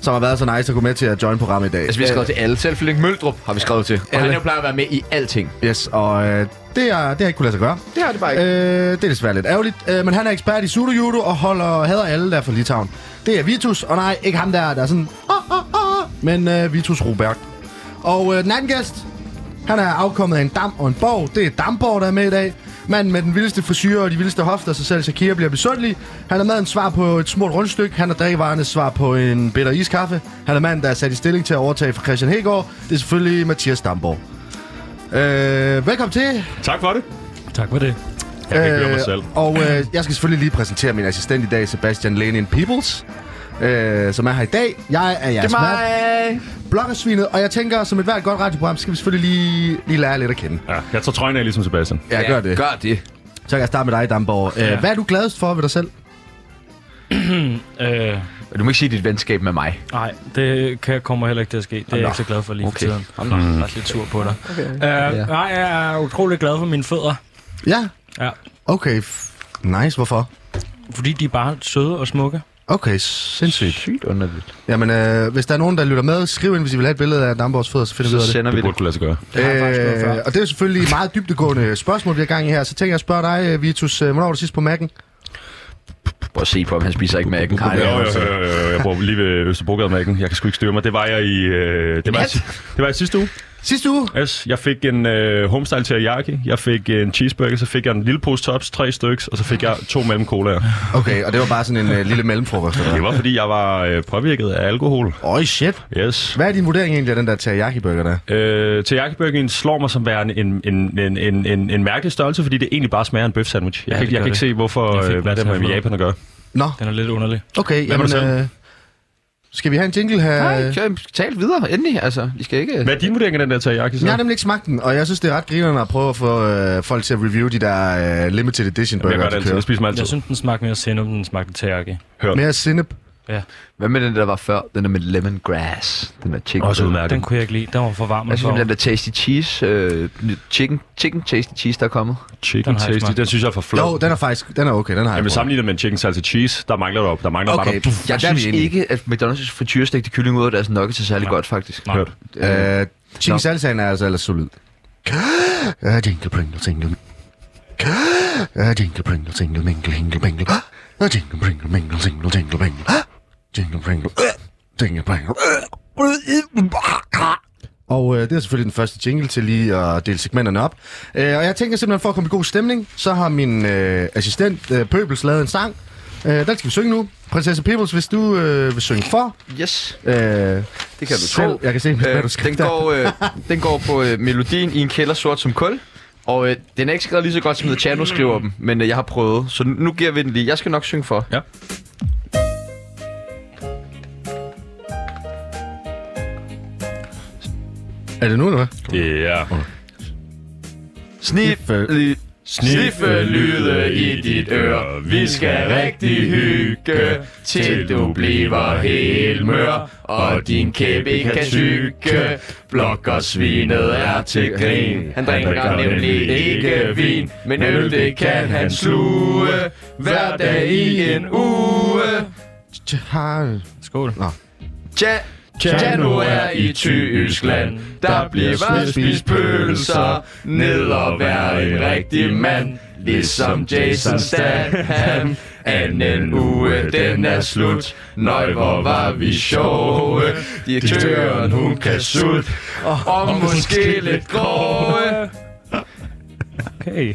[SPEAKER 2] som har været så nice at gå med til at join programmet i dag.
[SPEAKER 1] Altså, vi har skrevet til alle. Selv Flemming Møldrup har vi skrevet til. Og han jo plejer at være med i alting.
[SPEAKER 2] Yes, og øh, det, er, det har ikke kunne lade sig gøre.
[SPEAKER 1] Det har det bare ikke.
[SPEAKER 2] Øh, det er desværre lidt ærgerligt, øh, men han er ekspert i sudojudo og holder hader alle der fra Litauen. Det er Vitus, og nej, ikke ham der, der er sådan, "Ah, ah, ah," men øh, Vitus Robert. Og øh, den anden gæst, han er afkommet af en dam og en borg. Det er Damborg, der er med i dag. Manden med den vildeste frisyr og de vildeste hofter, så selv Shakira bliver besundelig. Han er madens svar på et smurt rundstykke. Han er drikkevarernes svar på en bitter iskaffe. Han er manden, der er sat i stilling til at overtage fra Christian Hegård. Det er selvfølgelig Mathias Damborg. Øh, velkommen til.
[SPEAKER 6] Tak for det.
[SPEAKER 7] Tak for det.
[SPEAKER 6] Jeg kan ikke høre mig selv.
[SPEAKER 2] Og øh, jeg skal selvfølgelig lige præsentere min assistent i dag, Sebastian Lenin Peoples. Øh, som er her i dag. Jeg er jeres vært, bloggersvinet, og jeg tænker, som et hvert godt radioprogram, skal vi selvfølgelig lige, lige lære lidt at kende.
[SPEAKER 6] Ja, jeg tager trøjen af ligesom Sebastian.
[SPEAKER 2] Ja, gør det.
[SPEAKER 1] Gør det.
[SPEAKER 2] Så kan jeg starte med dig, Damborg. Øh, Hvad er du gladest for ved dig selv?
[SPEAKER 7] Øh,
[SPEAKER 1] Du må ikke sige dit venskab med mig.
[SPEAKER 7] nej, det kan, kommer heller ikke til at ske. Det er jeg ikke så glad for lige okay. for
[SPEAKER 1] Okay.
[SPEAKER 7] tiden. Mm. Jeg er lidt sur på dig. Okay. Øh,
[SPEAKER 2] Ja.
[SPEAKER 7] nej, jeg er utrolig glad for mine fødder.
[SPEAKER 2] Ja.
[SPEAKER 7] Ja.
[SPEAKER 2] Okay. F- nice, hvorfor?
[SPEAKER 7] Fordi de er bare søde og smukke.
[SPEAKER 2] Okay, sindssygt.
[SPEAKER 1] Sygt underligt.
[SPEAKER 2] Jamen, øh, hvis der er nogen, der lytter med, skriv ind, hvis I vil have et billede af Damborgs fødder, så finder vi
[SPEAKER 1] Så
[SPEAKER 2] ud af det.
[SPEAKER 1] sender vi
[SPEAKER 6] Det
[SPEAKER 1] det.
[SPEAKER 6] burde kunne lade sig gøre.
[SPEAKER 7] Det har jeg faktisk gjort før.
[SPEAKER 2] Øh, og det er jo selvfølgelig meget dybdegående spørgsmål, vi har gang i her. Så tænker jeg at spørge dig, øh, Vitus, øh, hvornår var du sidst på Mac'en?
[SPEAKER 1] Prøv at se på, om han spiser ikke mærken.
[SPEAKER 6] Jo, jo, jo, jo, jo, jeg bor lige ved Østerbrogade-mærken. Jeg kan sgu ikke styre mig. Det var jeg i, øh, det, var jeg,
[SPEAKER 1] nat?
[SPEAKER 6] si- det var jeg sidste uge.
[SPEAKER 2] Sidste uge?
[SPEAKER 6] Yes, jeg fik en øh, homestyle teriyaki, jeg fik en cheeseburger, så fik jeg en lille pose tops, tre stykker, og så fik jeg to mellem colaer.
[SPEAKER 2] Okay, og det var bare sådan en øh, lille mellemfrokost. eller
[SPEAKER 6] Det
[SPEAKER 2] hvad?
[SPEAKER 6] var, fordi jeg var øh, påvirket af alkohol.
[SPEAKER 2] Øj, shit.
[SPEAKER 6] Yes.
[SPEAKER 2] Hvad er din vurdering egentlig af den der teriyaki-burger der?
[SPEAKER 6] Øh, teriyaki-burgeren slår mig som værende en, en, en, en, en, en mærkelig størrelse, fordi det egentlig bare smager af en bøf sandwich. Jeg,
[SPEAKER 7] Ja,
[SPEAKER 6] ja, kan,
[SPEAKER 7] det
[SPEAKER 6] ikke- jeg
[SPEAKER 7] gør
[SPEAKER 6] kan ikke
[SPEAKER 7] det.
[SPEAKER 6] se, hvorfor,
[SPEAKER 7] Jeg fik
[SPEAKER 6] øh, hvad
[SPEAKER 7] den
[SPEAKER 6] det har med
[SPEAKER 7] samme.
[SPEAKER 6] Japan at gøre.
[SPEAKER 2] Nå,
[SPEAKER 7] Den er lidt underlig.
[SPEAKER 2] okay,
[SPEAKER 6] Hvad med dig
[SPEAKER 2] jamen...
[SPEAKER 6] selv?
[SPEAKER 2] Øh, skal vi have en jingle her?
[SPEAKER 1] Nej, kør, tal videre, endelig. Altså, I skal ikke...
[SPEAKER 6] Hvad er din vurdering af den der teriyaki? Så?
[SPEAKER 2] Jeg har nemlig ikke smagt den, og jeg synes, det er ret grinerende at prøve at få øh, folk til at review de der øh, limited edition
[SPEAKER 6] Jamen, jeg
[SPEAKER 2] burger,
[SPEAKER 6] gør det
[SPEAKER 2] de
[SPEAKER 6] altid. Jeg
[SPEAKER 2] kører.
[SPEAKER 6] spiser mig altid.
[SPEAKER 7] Jeg synes, den smagte mere sennep, end den smagte teriyaki.
[SPEAKER 2] Mere sinep.
[SPEAKER 1] Hvad med den, der var før? Den der med lemongrass. Den der chicken.
[SPEAKER 6] Også udmærket.
[SPEAKER 7] Den kunne jeg ikke lide. Den var for varm.
[SPEAKER 1] Hvad
[SPEAKER 7] og
[SPEAKER 1] synes du om
[SPEAKER 7] for-
[SPEAKER 1] den der tasty cheese? Øh, chicken, chicken tasty cheese, der er kommet?
[SPEAKER 6] Chicken
[SPEAKER 7] Den har jeg ikke
[SPEAKER 6] tasty,
[SPEAKER 7] smagt.
[SPEAKER 6] den synes jeg er for flad.
[SPEAKER 2] Jo, den er faktisk... Den er okay, den har jeg
[SPEAKER 6] Jamen
[SPEAKER 2] prøvet.
[SPEAKER 6] sammenlignet med en chicken salsa cheese, der mangler der op. Der mangler
[SPEAKER 2] Okay,
[SPEAKER 6] bare der.
[SPEAKER 1] Jeg
[SPEAKER 2] der er vi
[SPEAKER 1] synes
[SPEAKER 2] enige.
[SPEAKER 1] ikke, at McDonald's frityrestegte kylling ud af deres nuggets er særlig godt, faktisk.
[SPEAKER 7] Nej.
[SPEAKER 6] Hørt.
[SPEAKER 2] Øh, Chicken salsaen er altså ellers solid. Øh, jingle pringle tingle. Øh, jingle pringle tingle mingle hingle mingle. Øh, jingle pringle mingle tingle tingle mingle. Jingle pringle. Øh, Jingle pringle. Og øh, det er selvfølgelig den første jingle til lige at dele segmenterne op. Øh, og jeg tænker simpelthen, for at komme i god stemning, så har min øh, assistent øh, Pøbels lavet en sang. Øh, den skal vi synge nu. Prinsesse Pebbles, hvis du øh, vil synge for.
[SPEAKER 1] Yes,
[SPEAKER 2] Øh,
[SPEAKER 1] det kan du
[SPEAKER 2] selv.
[SPEAKER 1] tro.
[SPEAKER 2] Jeg kan se, hvad
[SPEAKER 1] Øh,
[SPEAKER 2] du
[SPEAKER 1] den,
[SPEAKER 2] skriver.
[SPEAKER 1] går, øh, den går på øh, melodien i en kælder sort som kul. Og øh, den er ikke skrevet lige så godt, som The Chano skriver dem, men øh, jeg har prøvet. Så nu, nu giver vi den lige. Jeg skal nok synge for.
[SPEAKER 6] Ja.
[SPEAKER 2] Er det nu, eller hvad?
[SPEAKER 6] Ja.
[SPEAKER 1] Snif, øh, sniffe lyde i dit øre. Vi skal rigtig hygge, til du bliver helt mør. Og din kæbe ikke kan tykke, blok og svinet er til grin. Han drikker nemlig ikke vin, men øl det kan han sluge. Hver dag i en uge,
[SPEAKER 2] Har...
[SPEAKER 7] Skål.
[SPEAKER 1] Ja, Januar i Tyskland, der bliver bare spist pølser, ned og vær en rigtig mand, ligesom Jason Statham. Anden uge, den er slut, nøj, hvor var vi sjove, direktøren hun kan sut, og måske lidt grove.
[SPEAKER 7] Okay.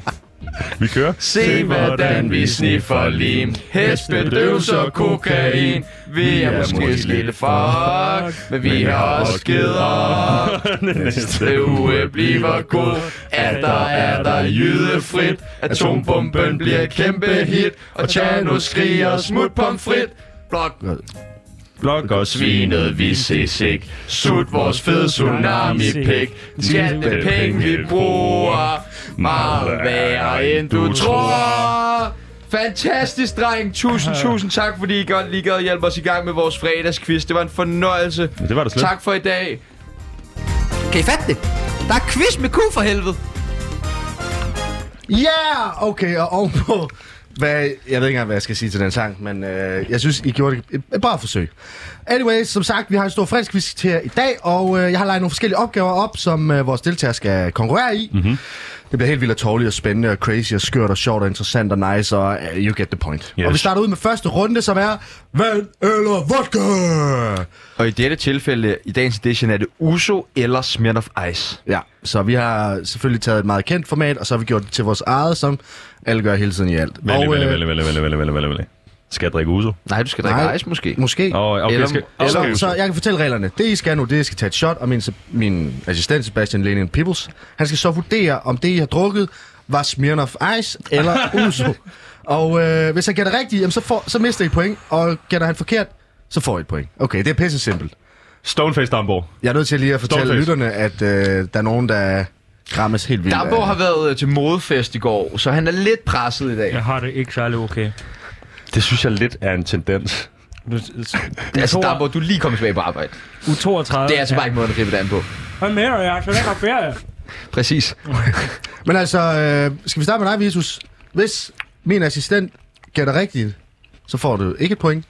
[SPEAKER 6] Vi kører.
[SPEAKER 1] Se, hvordan vi sniffer lim, hestbedøvser kokain, vi er måske lidt fuck, men vi har også
[SPEAKER 6] (laughs)
[SPEAKER 1] skeder. Næste uge bliver god, at der er der jydefrit. Atombomben bliver et kæmpe hit, og Tjano skriger smut pomfrit. Blok
[SPEAKER 6] Blok og svin.
[SPEAKER 1] svinet, vi ses ikke. Sut vores fede tsunami-pik. Tjente penge, vi bruger. Meget værre, end du tror. Fantastisk, dreng. Tusind, tusind tak, fordi I godt lige gad hjælpe os i gang med vores fredagsquiz. Det var en fornøjelse.
[SPEAKER 6] Det var det slet.
[SPEAKER 1] Tak for i dag.
[SPEAKER 8] Kan I fatte det? Der er quiz med ku for helvede.
[SPEAKER 2] Yeah! Okay, og ovenpå... Hvad, jeg ved ikke engang, hvad jeg skal sige til den sang, men øh, jeg synes, I gjorde det et, et bra forsøg. Anyway, som sagt, vi har en stor frisk quiz til jer i dag, og øh, jeg har lagt nogle forskellige opgaver op, som øh, vores deltagere skal konkurrere i. Mm-hmm. Det bliver helt vildt og tårligt og spændende og crazy og skørt og sjovt og interessant og nice, og uh, you get the point. Yes. Og vi starter ud med første runde, som er vand eller vodka!
[SPEAKER 1] Og i dette tilfælde, i dagens edition, er det Uso eller Smirnoff Ice.
[SPEAKER 2] Ja, så vi har selvfølgelig taget et meget kendt format, og så har vi gjort det til vores eget, som alle gør hele tiden i alt.
[SPEAKER 6] Vælge,
[SPEAKER 2] og,
[SPEAKER 6] vælge,
[SPEAKER 2] øh,
[SPEAKER 6] vælge, vælge, vælge, vælge, vælge, vælge, vælge. Skal jeg drikke uso?
[SPEAKER 1] Nej, du skal
[SPEAKER 2] drikke
[SPEAKER 1] drikke
[SPEAKER 2] Nej.
[SPEAKER 1] ice måske.
[SPEAKER 2] Måske.
[SPEAKER 6] Åh, okay,
[SPEAKER 1] Eller-
[SPEAKER 6] jeg skal, jeg
[SPEAKER 1] eller-
[SPEAKER 6] skal
[SPEAKER 2] Så,
[SPEAKER 6] uso.
[SPEAKER 2] så jeg kan fortælle reglerne. Det, I skal nu, det er, I skal tage et shot, og min, min assistent Sebastian Lenin Pibbles, han skal så vurdere, om det, I har drukket, var Smirnoff Ice eller Uso. og øh, hvis han gætter rigtigt, jamen, så, får, så mister I et point, og gætter han forkert, så får I et point. Okay, det er pisse simpelt.
[SPEAKER 6] Stoneface Damborg.
[SPEAKER 2] Jeg er nødt til lige at fortælle
[SPEAKER 6] Stoneface.
[SPEAKER 2] lytterne, at øh, der er nogen, der krammes helt vildt.
[SPEAKER 1] Dambo
[SPEAKER 2] af-
[SPEAKER 1] har været øh, til modefest i går, så han er lidt presset i dag.
[SPEAKER 7] Jeg har det ikke særlig okay.
[SPEAKER 6] Det synes jeg lidt er en tendens.
[SPEAKER 7] Nu, s-
[SPEAKER 1] Altså,
[SPEAKER 7] U-
[SPEAKER 1] Dambo, du er lige kommet tilbage på arbejde.
[SPEAKER 7] U32.
[SPEAKER 1] Det er altså bare ikke måden at gribe det an på.
[SPEAKER 7] Hvad mener du? Jeg skal ikke have ferie.
[SPEAKER 1] Præcis.
[SPEAKER 2] Men altså, øh, skal vi starte med dig, Visus? Hvis min assistent gætter rigtigt, så får du ikke et point.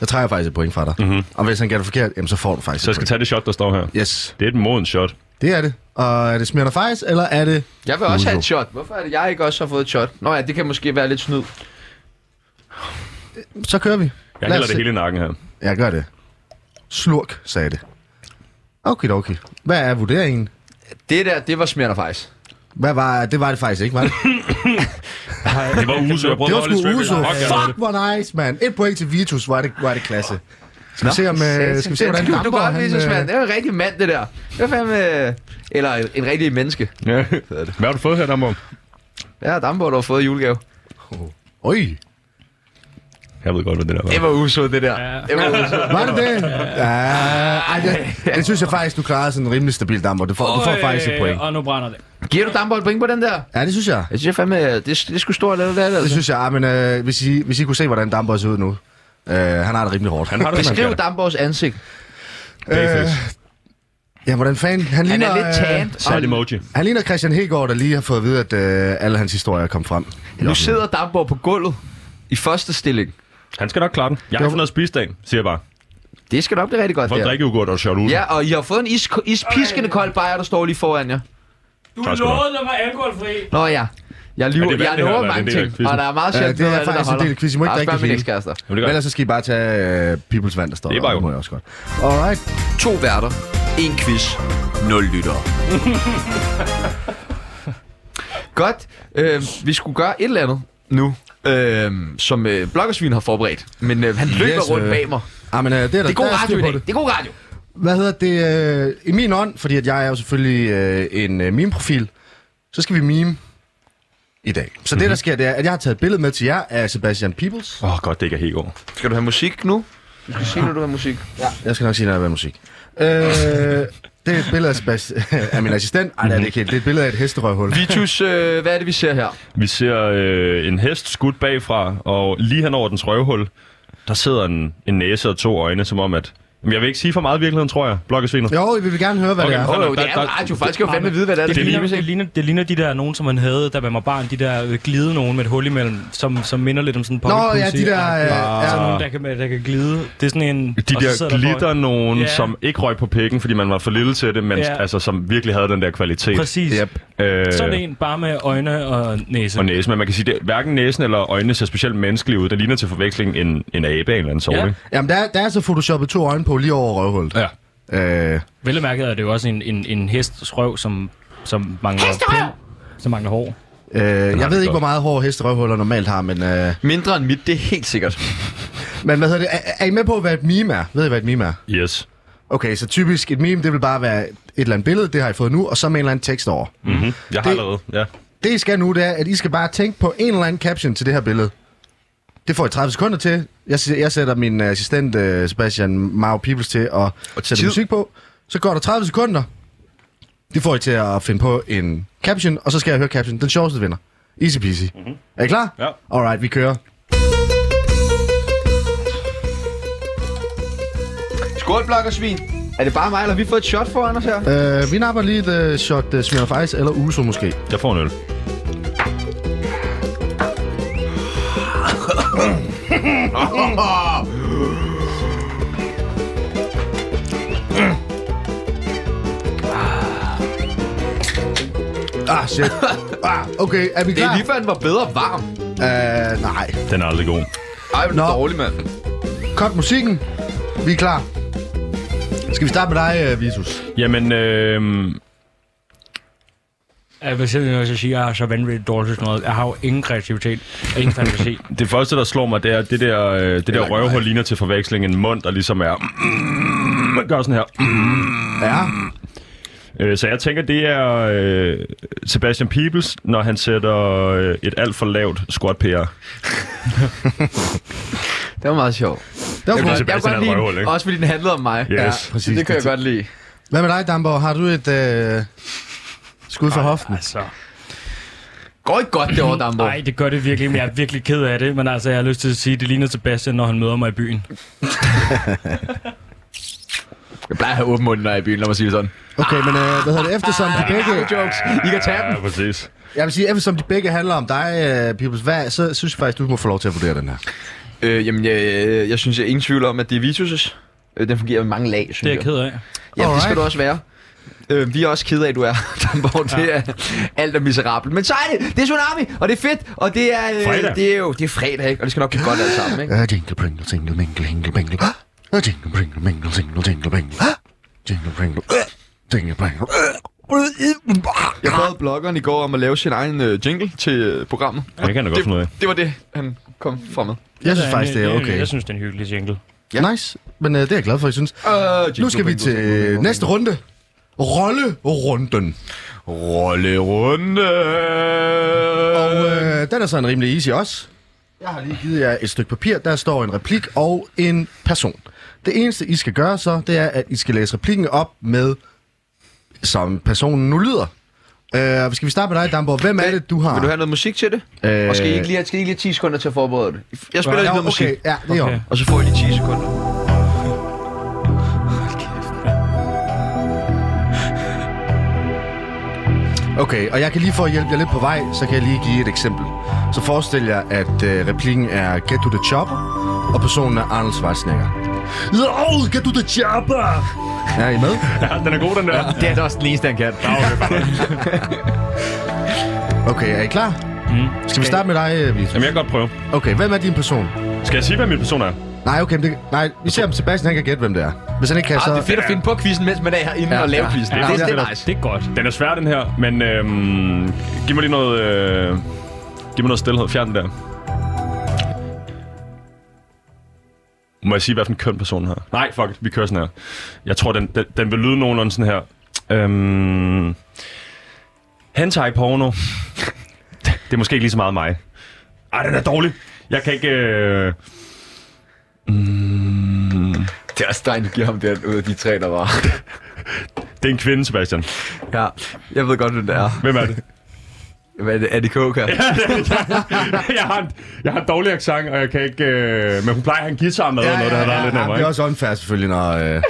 [SPEAKER 2] Jeg trækker faktisk et point fra dig. Mm-hmm. Og hvis han gætter forkert, jamen, så får du faktisk
[SPEAKER 6] Mhm. Så jeg
[SPEAKER 2] et
[SPEAKER 6] skal
[SPEAKER 2] point.
[SPEAKER 6] tage det shot, der står her.
[SPEAKER 2] Yes,
[SPEAKER 6] Det er et moden shot.
[SPEAKER 2] det er det. Og er det smirter faktisk, eller er det...
[SPEAKER 1] Jeg vil også
[SPEAKER 2] Uso.
[SPEAKER 1] have et shot. Hvorfor er det, jeg ikke også har fået et shot? Nå ja, det kan måske være lidt snyd.
[SPEAKER 2] Så kører vi.
[SPEAKER 6] Jeg
[SPEAKER 2] Lad
[SPEAKER 6] hælder
[SPEAKER 2] os
[SPEAKER 6] det
[SPEAKER 2] se.
[SPEAKER 6] hele i nakken her.
[SPEAKER 2] Jeg gør det. Slurk, sagde det. Okay, okay. Hvad er vurderingen?
[SPEAKER 1] Det der, det var smerter faktisk.
[SPEAKER 2] Hvad var... Det var det faktisk ikke, var
[SPEAKER 6] (laughs)
[SPEAKER 2] det?
[SPEAKER 6] Det var uso. Jeg prøvede
[SPEAKER 2] det
[SPEAKER 6] at
[SPEAKER 2] var
[SPEAKER 6] holde
[SPEAKER 2] sgu
[SPEAKER 6] lidt
[SPEAKER 2] Uso.
[SPEAKER 6] svært. Fuck, jeg
[SPEAKER 2] Fuck, hvor nice, mand. Et point til Vitus. Hvor er det, hvor er det klasse. Skal vi se, om, øh, skal vi se hvordan
[SPEAKER 1] det du
[SPEAKER 2] Damborg,
[SPEAKER 1] godt, Jesus,
[SPEAKER 2] øh,
[SPEAKER 1] mand. Det er jo en rigtig mand, det der. Det er fandme... øh, Eller en, en rigtig menneske.
[SPEAKER 6] Ja. Hvad har du fået her, Damborg?
[SPEAKER 1] Ja, Dambo, der har fået i julegave.
[SPEAKER 2] Oj,
[SPEAKER 6] Jeg ved godt, hvad det der var.
[SPEAKER 1] Det var uso, det der. Det var uso.
[SPEAKER 2] Var det det? Ja, ej, det, det synes jeg faktisk, du klarede sådan en rimelig stabil damper. Du får, du får faktisk et point.
[SPEAKER 7] Øh, Og nu brænder det.
[SPEAKER 1] Giver du Dambo et point på den der?
[SPEAKER 2] Ja, det synes jeg.
[SPEAKER 1] Jeg synes fandme, øh, det, det er sgu stort, eller det er det,
[SPEAKER 2] Det
[SPEAKER 1] altså.
[SPEAKER 2] synes jeg, Ej, men øh, hvis, I, hvis I kunne se, hvordan damper ser ud nu. Øh, han har det rimelig hårdt. Han har
[SPEAKER 1] Beskriv Dambos ansigt.
[SPEAKER 6] Babyface.
[SPEAKER 2] Øh, Ja, hvordan fanden? Han,
[SPEAKER 1] Han
[SPEAKER 2] ligner,
[SPEAKER 1] er lidt
[SPEAKER 2] øh,
[SPEAKER 1] tan.
[SPEAKER 6] Så er det emoji.
[SPEAKER 2] han ligner Christian Hegård, der lige har fået at vide, at øh, alle hans historier er kommet frem.
[SPEAKER 1] Nu sidder Dambo på gulvet i første stilling.
[SPEAKER 6] Han skal nok klare den. Jeg har fået noget spisedagen, siger jeg bare.
[SPEAKER 1] Det skal nok blive rigtig godt,
[SPEAKER 6] For
[SPEAKER 1] det
[SPEAKER 6] at
[SPEAKER 1] her.
[SPEAKER 6] drikke yoghurt og shot ud.
[SPEAKER 1] Ja, og I har fået en is, ispiskende kold bajer, der står lige foran jer.
[SPEAKER 7] Du
[SPEAKER 6] Tak skal du have.
[SPEAKER 7] lovede mig alkoholfri.
[SPEAKER 1] Nå ja. Jeg
[SPEAKER 6] Er det
[SPEAKER 1] lyver,
[SPEAKER 6] valg,
[SPEAKER 1] jeg
[SPEAKER 6] det her,
[SPEAKER 1] lover
[SPEAKER 6] eller er det
[SPEAKER 1] mange
[SPEAKER 6] en del af
[SPEAKER 1] ting,
[SPEAKER 6] quizzen?
[SPEAKER 1] og der er meget
[SPEAKER 2] Ja,
[SPEAKER 1] sjældent
[SPEAKER 2] det
[SPEAKER 1] noget
[SPEAKER 2] er
[SPEAKER 1] af det, der
[SPEAKER 2] faktisk en
[SPEAKER 1] holder.
[SPEAKER 2] del af quizzen. I må ikke
[SPEAKER 1] Bare
[SPEAKER 2] drikke
[SPEAKER 1] spørg
[SPEAKER 2] det
[SPEAKER 1] mine
[SPEAKER 2] hele.
[SPEAKER 1] ekskærester.
[SPEAKER 6] Jamen, det
[SPEAKER 2] Men
[SPEAKER 6] gør
[SPEAKER 2] ellers så skal I bare tage øh, Peoples Vand, der står
[SPEAKER 6] Det er bare
[SPEAKER 2] der. Det må
[SPEAKER 6] jo.
[SPEAKER 2] jeg også godt. Alright.
[SPEAKER 1] To værter, en quiz, nul lyttere. (laughs) Godt. Øh, vi skulle gøre et eller andet nu, øh, som øh, Blokkersvin har forberedt. Men øh, han løber
[SPEAKER 2] Yes,
[SPEAKER 1] rundt
[SPEAKER 2] øh,
[SPEAKER 1] bag mig.
[SPEAKER 2] Ah, men, øh, det er, der,
[SPEAKER 1] Det er
[SPEAKER 2] der
[SPEAKER 1] god radio
[SPEAKER 2] styr
[SPEAKER 1] i
[SPEAKER 2] på
[SPEAKER 1] dag.
[SPEAKER 2] det.
[SPEAKER 1] Det er god radio.
[SPEAKER 2] Hvad hedder det? Øh, I min ånd, fordi at jeg er jo selvfølgelig øh, en øh, meme-profil, så skal vi meme i dag. Så
[SPEAKER 6] Mhm.
[SPEAKER 2] mm-hmm. det, der sker, det er, at jeg har taget et billede med til jer af Sebastian Peebles.
[SPEAKER 6] Åh, oh, godt, det ikke er helt over.
[SPEAKER 1] Skal du have musik nu? Du skal sige, når du har musik.
[SPEAKER 2] Jeg skal nok sige, når der er musik. Øh, det er et billede af, Sebastian, (laughs) af min assistent. Ej, det er det ikke helt. Det er et billede af et hesterøvhul.
[SPEAKER 1] Vitus, øh, hvad er det, vi ser her?
[SPEAKER 6] Vi ser øh, en hest skudt bagfra, og lige hen over dens røvhul, der sidder en, en næse og to øjne, som om at Men jeg vil ikke sige for meget i virkeligheden, tror jeg. Blokkesvinet.
[SPEAKER 2] Jo, vi vil gerne høre, hvad okay.
[SPEAKER 6] Okay.
[SPEAKER 2] det er.
[SPEAKER 1] Åh,
[SPEAKER 6] Nå, nå,
[SPEAKER 1] oh, det
[SPEAKER 6] der-
[SPEAKER 1] er
[SPEAKER 6] der-
[SPEAKER 1] radio. Folk skal jo fandme vide, hvad det er,
[SPEAKER 7] Det,
[SPEAKER 1] der
[SPEAKER 7] det, ligner,
[SPEAKER 1] filmes,
[SPEAKER 7] det,
[SPEAKER 1] ikke?
[SPEAKER 7] ligner, det ligner de der nogen, som man havde, da man var barn. De der øh, glide nogen med et hul imellem, som, som minder lidt om sådan en
[SPEAKER 2] Nå, ja,
[SPEAKER 7] poppy-pussy.
[SPEAKER 2] de der... Øh, ja.
[SPEAKER 7] Sådan nogen, der kan, der kan glide. Det er sådan en...
[SPEAKER 6] De
[SPEAKER 7] og så sidder
[SPEAKER 6] der
[SPEAKER 7] der folk-
[SPEAKER 6] glitter nogen,
[SPEAKER 7] Ja.
[SPEAKER 6] yeah. som ikke røg på pikken, fordi man var for lille til det, men
[SPEAKER 7] Ja.
[SPEAKER 6] yeah. altså, som virkelig havde den der kvalitet.
[SPEAKER 7] Præcis. Yep.
[SPEAKER 6] Øh,
[SPEAKER 7] Sådan en, bare med øjne og næse.
[SPEAKER 6] Og næsen, men man kan sige, at hverken næsen eller øjnene ser specielt menneskelige ud. Der ligner til forveksling en, en abe af en eller anden sort,
[SPEAKER 7] Ja.
[SPEAKER 6] ikke?
[SPEAKER 2] Jamen, der, der er så photoshoppet to øjne på lige over røvhullet.
[SPEAKER 6] Ja.
[SPEAKER 2] Øh,
[SPEAKER 7] Velmærket er det jo også en, en, en hests røv, som, som mangler...
[SPEAKER 5] Hesterøv!
[SPEAKER 7] Som mangler hår.
[SPEAKER 2] øh, jeg
[SPEAKER 6] det
[SPEAKER 2] ved ikke,
[SPEAKER 6] godt.
[SPEAKER 2] hvor meget hår hesterøvhuller normalt har, men... Øh,
[SPEAKER 1] Mindre end mit, det er helt sikkert.
[SPEAKER 2] men hvad hedder det? Er, er I med på, hvad et meme er? Ved I, hvad et meme er?
[SPEAKER 6] Yes.
[SPEAKER 2] Okay, så typisk et meme, det vil bare være et eller andet billede, det har I fået nu, og så med en eller anden tekst over.
[SPEAKER 6] Mm-hmm. Jeg har
[SPEAKER 2] Det-
[SPEAKER 6] det... allerede, ja.
[SPEAKER 2] Det, I skal nu, det er, at I skal bare tænke på en eller anden caption til det her billede. Det får I 30 sekunder til. Jeg, s- jeg sætter min assistent øh, Sebastian Mao Peoples til at sætte
[SPEAKER 1] tid.
[SPEAKER 2] musik på. Så går der 30 sekunder. Det får I til at finde på en caption, og så skal jeg høre caption. Den sjoveste vinder. Easy peasy.
[SPEAKER 1] Mhm.
[SPEAKER 2] Mm-hmm. Er I klar?
[SPEAKER 6] Ja.
[SPEAKER 2] Alright, vi kører.
[SPEAKER 1] Skål, blokkersvin. Er det bare mig, eller har vi fået et shot foran os her?
[SPEAKER 2] Øh, vi napper lige et øh, shot øh, Smirnoff Ice eller Uso måske.
[SPEAKER 6] Jeg får en øl.
[SPEAKER 1] (laughs)
[SPEAKER 2] Ah, shit. ah, okay, er vi
[SPEAKER 1] Det er
[SPEAKER 2] klar?
[SPEAKER 1] lige før, den var bedre varm.
[SPEAKER 2] Øh, nej.
[SPEAKER 6] Den er aldrig god.
[SPEAKER 1] Ej, hvor er det
[SPEAKER 2] Nå.
[SPEAKER 1] dårligt, mand.
[SPEAKER 2] Kort musikken. Vi er klar. Skal vi starte med dig, øh, Vitus?
[SPEAKER 6] Jamen, øh,
[SPEAKER 7] Jeg vil simpelthen også sige, at jeg er så vanvittigt dårlig til sådan noget. Jeg har jo ingen kreativitet og ingen fantasi.
[SPEAKER 6] det første, der slår mig, det er, det der, øh, det der røvhul ligner til forveksling en mund, der ligesom er... Man gør sådan her.
[SPEAKER 2] Ja.
[SPEAKER 6] Øh, så jeg tænker, det er øh, Sebastian Peebles, når han sætter øh, et alt for lavt squat PR.
[SPEAKER 1] Det var meget sjovt.
[SPEAKER 2] Det var
[SPEAKER 1] Jeg,
[SPEAKER 2] flot.
[SPEAKER 1] kunne- jeg,
[SPEAKER 6] Sebastian
[SPEAKER 1] kunne
[SPEAKER 6] er
[SPEAKER 1] godt
[SPEAKER 6] et
[SPEAKER 1] lide
[SPEAKER 6] røvhul,
[SPEAKER 1] den,
[SPEAKER 6] ikke?
[SPEAKER 1] også fordi den handlede om mig.
[SPEAKER 6] Yes.
[SPEAKER 1] Så
[SPEAKER 2] Præcis,
[SPEAKER 1] det kan jeg
[SPEAKER 2] det-
[SPEAKER 1] godt lide.
[SPEAKER 2] Hvad med dig, Damborg? Har du et øh, skud for hoften?
[SPEAKER 7] altså,
[SPEAKER 1] Går ikke godt det over, Dambo.
[SPEAKER 7] nej, det gør det virkelig, men jeg er virkelig ked af det. Men altså, jeg har lyst til at sige, at det ligner Sebastian, når han møder mig i byen.
[SPEAKER 1] Jeg plejer at have åben mund, når jeg er i byen, lad mig sige det sådan.
[SPEAKER 2] Okay, men øh, hvad hedder det? Eftersom de begge...
[SPEAKER 1] Jokes. I kan tage dem.
[SPEAKER 6] Ja, præcis.
[SPEAKER 2] Jeg vil sige, eftersom de begge handler om dig, øh, Peoples, hvad, så synes jeg faktisk, du må få lov til at vurdere den her.
[SPEAKER 1] Øh, jamen, jeg, jeg, jeg synes, jeg er ingen tvivl om, at det er Vitus' øh, den fungerer med mange lag, synes
[SPEAKER 7] Det er jeg ked af.
[SPEAKER 1] Ja, det skal
[SPEAKER 2] Alright.
[SPEAKER 1] du også være. Øh, vi er også kede af, at du er (laughs) Damborg. Det ja. er alt er miserabelt. Men så er det. Det er Tsunami, og det er fedt, og det er,
[SPEAKER 6] Fredag.
[SPEAKER 1] øh, det er jo det er fredag, ikke? og det skal nok blive godt alt sammen. Ikke?
[SPEAKER 2] Ah, jingle pringle, single mingle, hingle bingle. Ah, jingle pringle, mingle, single jingle bingle. Ah, jingle pringle, ah, jingle pringle.
[SPEAKER 1] Jeg bad bloggeren i går om at lave sin egen øh, jingle til øh, programmet.
[SPEAKER 6] Det kan da godt
[SPEAKER 1] Det-
[SPEAKER 6] finde ud af.
[SPEAKER 1] Det var det, han kom fra med.
[SPEAKER 2] Jeg synes faktisk, det er
[SPEAKER 7] Jeg,
[SPEAKER 2] okay.
[SPEAKER 7] jeg synes, det er en hyggelig jingle.
[SPEAKER 2] Nice, men øh, det er jeg glad for, jeg synes.
[SPEAKER 1] Øh,
[SPEAKER 2] Nu skal vi til øh, næste runde. Rollerunden.
[SPEAKER 1] Rolle runde.
[SPEAKER 2] Og øh, den er så en rimelig easy også. Jeg har lige givet jer et stykke papir, der står en replik og en person. Det eneste, I skal gøre så, det er, at I skal læse replikken op med, som personen nu lyder. Øh, skal vi starte med dig, Damborg? Hvem er det, du har?
[SPEAKER 1] Vil du have noget musik til det?
[SPEAKER 2] Øh,
[SPEAKER 1] Og skal I ikke lige, skal I ikke lige 10 sekunder til at forberede det? Jeg spiller
[SPEAKER 2] Ja,
[SPEAKER 1] lige noget musik,
[SPEAKER 2] Okay, ja, det er okay.
[SPEAKER 7] Okay.
[SPEAKER 1] og så får I de 10 sekunder.
[SPEAKER 2] Okay, og jeg kan lige for at hjælpe jer lidt på vej, så kan jeg lige give et eksempel. Så forestil jer, at øh, replikken er Get to the chopper, og personen er Arnold Schwarzenegger. Yo, get to the chopper! Er I med?
[SPEAKER 6] Ja, den er god, den der.
[SPEAKER 1] Det er da også den eneste, han kan.
[SPEAKER 2] Okay, er I klar? Mm. Skal vi starte med dig, øh, Vito?
[SPEAKER 6] Jamen, jeg kan godt prøve.
[SPEAKER 2] Okay, hvem er din person?
[SPEAKER 6] Skal jeg sige, hvad min person er?
[SPEAKER 2] Nej, okay, men det, nej, vi ser om Sebastian han kan gætte, hvem det er. Hvis han ikke kan,
[SPEAKER 1] Ah, det er
[SPEAKER 2] så...
[SPEAKER 1] fedt at finde på quizzen, mens man er herinde
[SPEAKER 2] Ja,
[SPEAKER 1] og lave
[SPEAKER 2] ja.
[SPEAKER 1] quizzen.
[SPEAKER 2] Ja,
[SPEAKER 1] det,
[SPEAKER 2] ja.
[SPEAKER 1] det, er nice.
[SPEAKER 7] Det er godt.
[SPEAKER 6] Den er svær, den her, men øhm, giv mig lige noget... Øh, giv mig noget stillhed. Fjern den der. Må jeg sige, hvad for en køn person her? Nej, fuck it, vi kører sådan her. Jeg tror, den, den, den vil lyde nogenlunde sådan her. Øhm, hentai porno. (laughs) Det er måske ikke lige så meget mig. Ej, den er dårlig. Jeg kan ikke... Øh,
[SPEAKER 1] Det er også dig, du giver ham den ud af de tre, der var.
[SPEAKER 6] det er en kvinde, Sebastian. (laughs)
[SPEAKER 1] ja, jeg ved godt, hvem det er.
[SPEAKER 6] Hvem er det?
[SPEAKER 5] Hvad er det, er det koker?
[SPEAKER 6] jeg, har en, jeg har en dårlig accent, og jeg kan ikke... Øh, men hun plejer at have en guitar med, ja, noget, der har været lidt nemmere,
[SPEAKER 2] Det er
[SPEAKER 6] ikke?
[SPEAKER 2] også unfair selvfølgelig, når... Øh...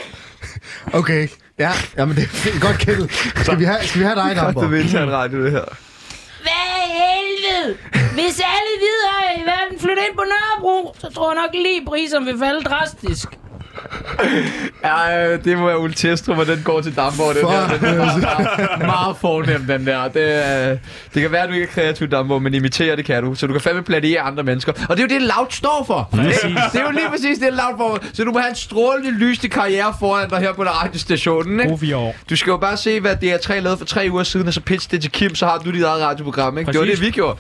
[SPEAKER 2] (laughs) Okay, ja, jamen det er fint. godt kættet. Skal vi have, skal vi have
[SPEAKER 6] (laughs)
[SPEAKER 2] dig, Damper?
[SPEAKER 5] Det er intern radio, det her.
[SPEAKER 9] Hvad i helvede? Hvis alle videre i verden flytter ind på Nørrebro, så tror jeg nok lige priserne vil falde drastisk.
[SPEAKER 1] Ja, øh, det må være Ole Testrup, og den går til Damborg, den her. Den er meget, meget fornem, den der. Det, øh, det kan være, at du ikke er kreativ, Damborg, men imitere det kan du. Så du kan fandme plagiere andre mennesker. Og det er jo det, Loud står for. Det, det er jo lige præcis det, Loud for. Så du må have en strålende, lysende karriere foran dig her på radiostationen, ikke?
[SPEAKER 7] Brug vi år.
[SPEAKER 1] Du skal jo bare se, hvad DR3 lavede for tre uger siden, og så pitch det til Kim, så har du dit eget radioprogram, ikke? Det var
[SPEAKER 7] Præcis.
[SPEAKER 1] det, vi gjorde.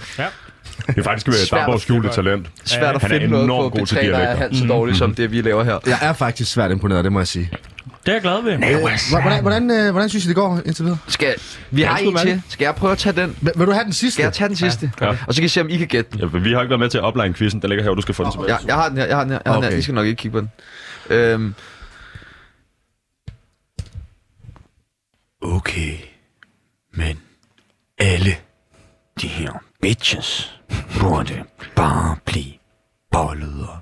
[SPEAKER 6] Det er faktisk
[SPEAKER 1] Svært at
[SPEAKER 6] Damborgs skjulte
[SPEAKER 1] finde
[SPEAKER 6] talent.
[SPEAKER 1] Svært at
[SPEAKER 6] Han er
[SPEAKER 1] finde noget på
[SPEAKER 6] enormt god til
[SPEAKER 1] B3, der er
[SPEAKER 6] dialekter.
[SPEAKER 1] halvt så dårligt som det, vi laver her.
[SPEAKER 2] Jeg er faktisk svært imponeret, det må jeg sige.
[SPEAKER 7] Det er jeg glad ved. Nej,
[SPEAKER 2] Hvordan, hvordan, øh, hvordan synes I, det går indtil videre?
[SPEAKER 1] Skal, vi har en til. Skal jeg prøve at tage den?
[SPEAKER 2] Vil, vil du have den sidste?
[SPEAKER 1] Skal jeg tage den sidste?
[SPEAKER 6] Ja.
[SPEAKER 1] Og så kan I se, om I kan gætte den.
[SPEAKER 6] Ja, for vi har ikke været med til at opline quizzen. Den ligger her, og du skal få den tilbage.
[SPEAKER 1] Jeg, jeg har den her, jeg har den her, jeg har okay. den her.
[SPEAKER 2] Okay.
[SPEAKER 1] I skal nok ikke kigge på den. Øhm,
[SPEAKER 10] Okay, men alle de her bitches burde bare blive bollet og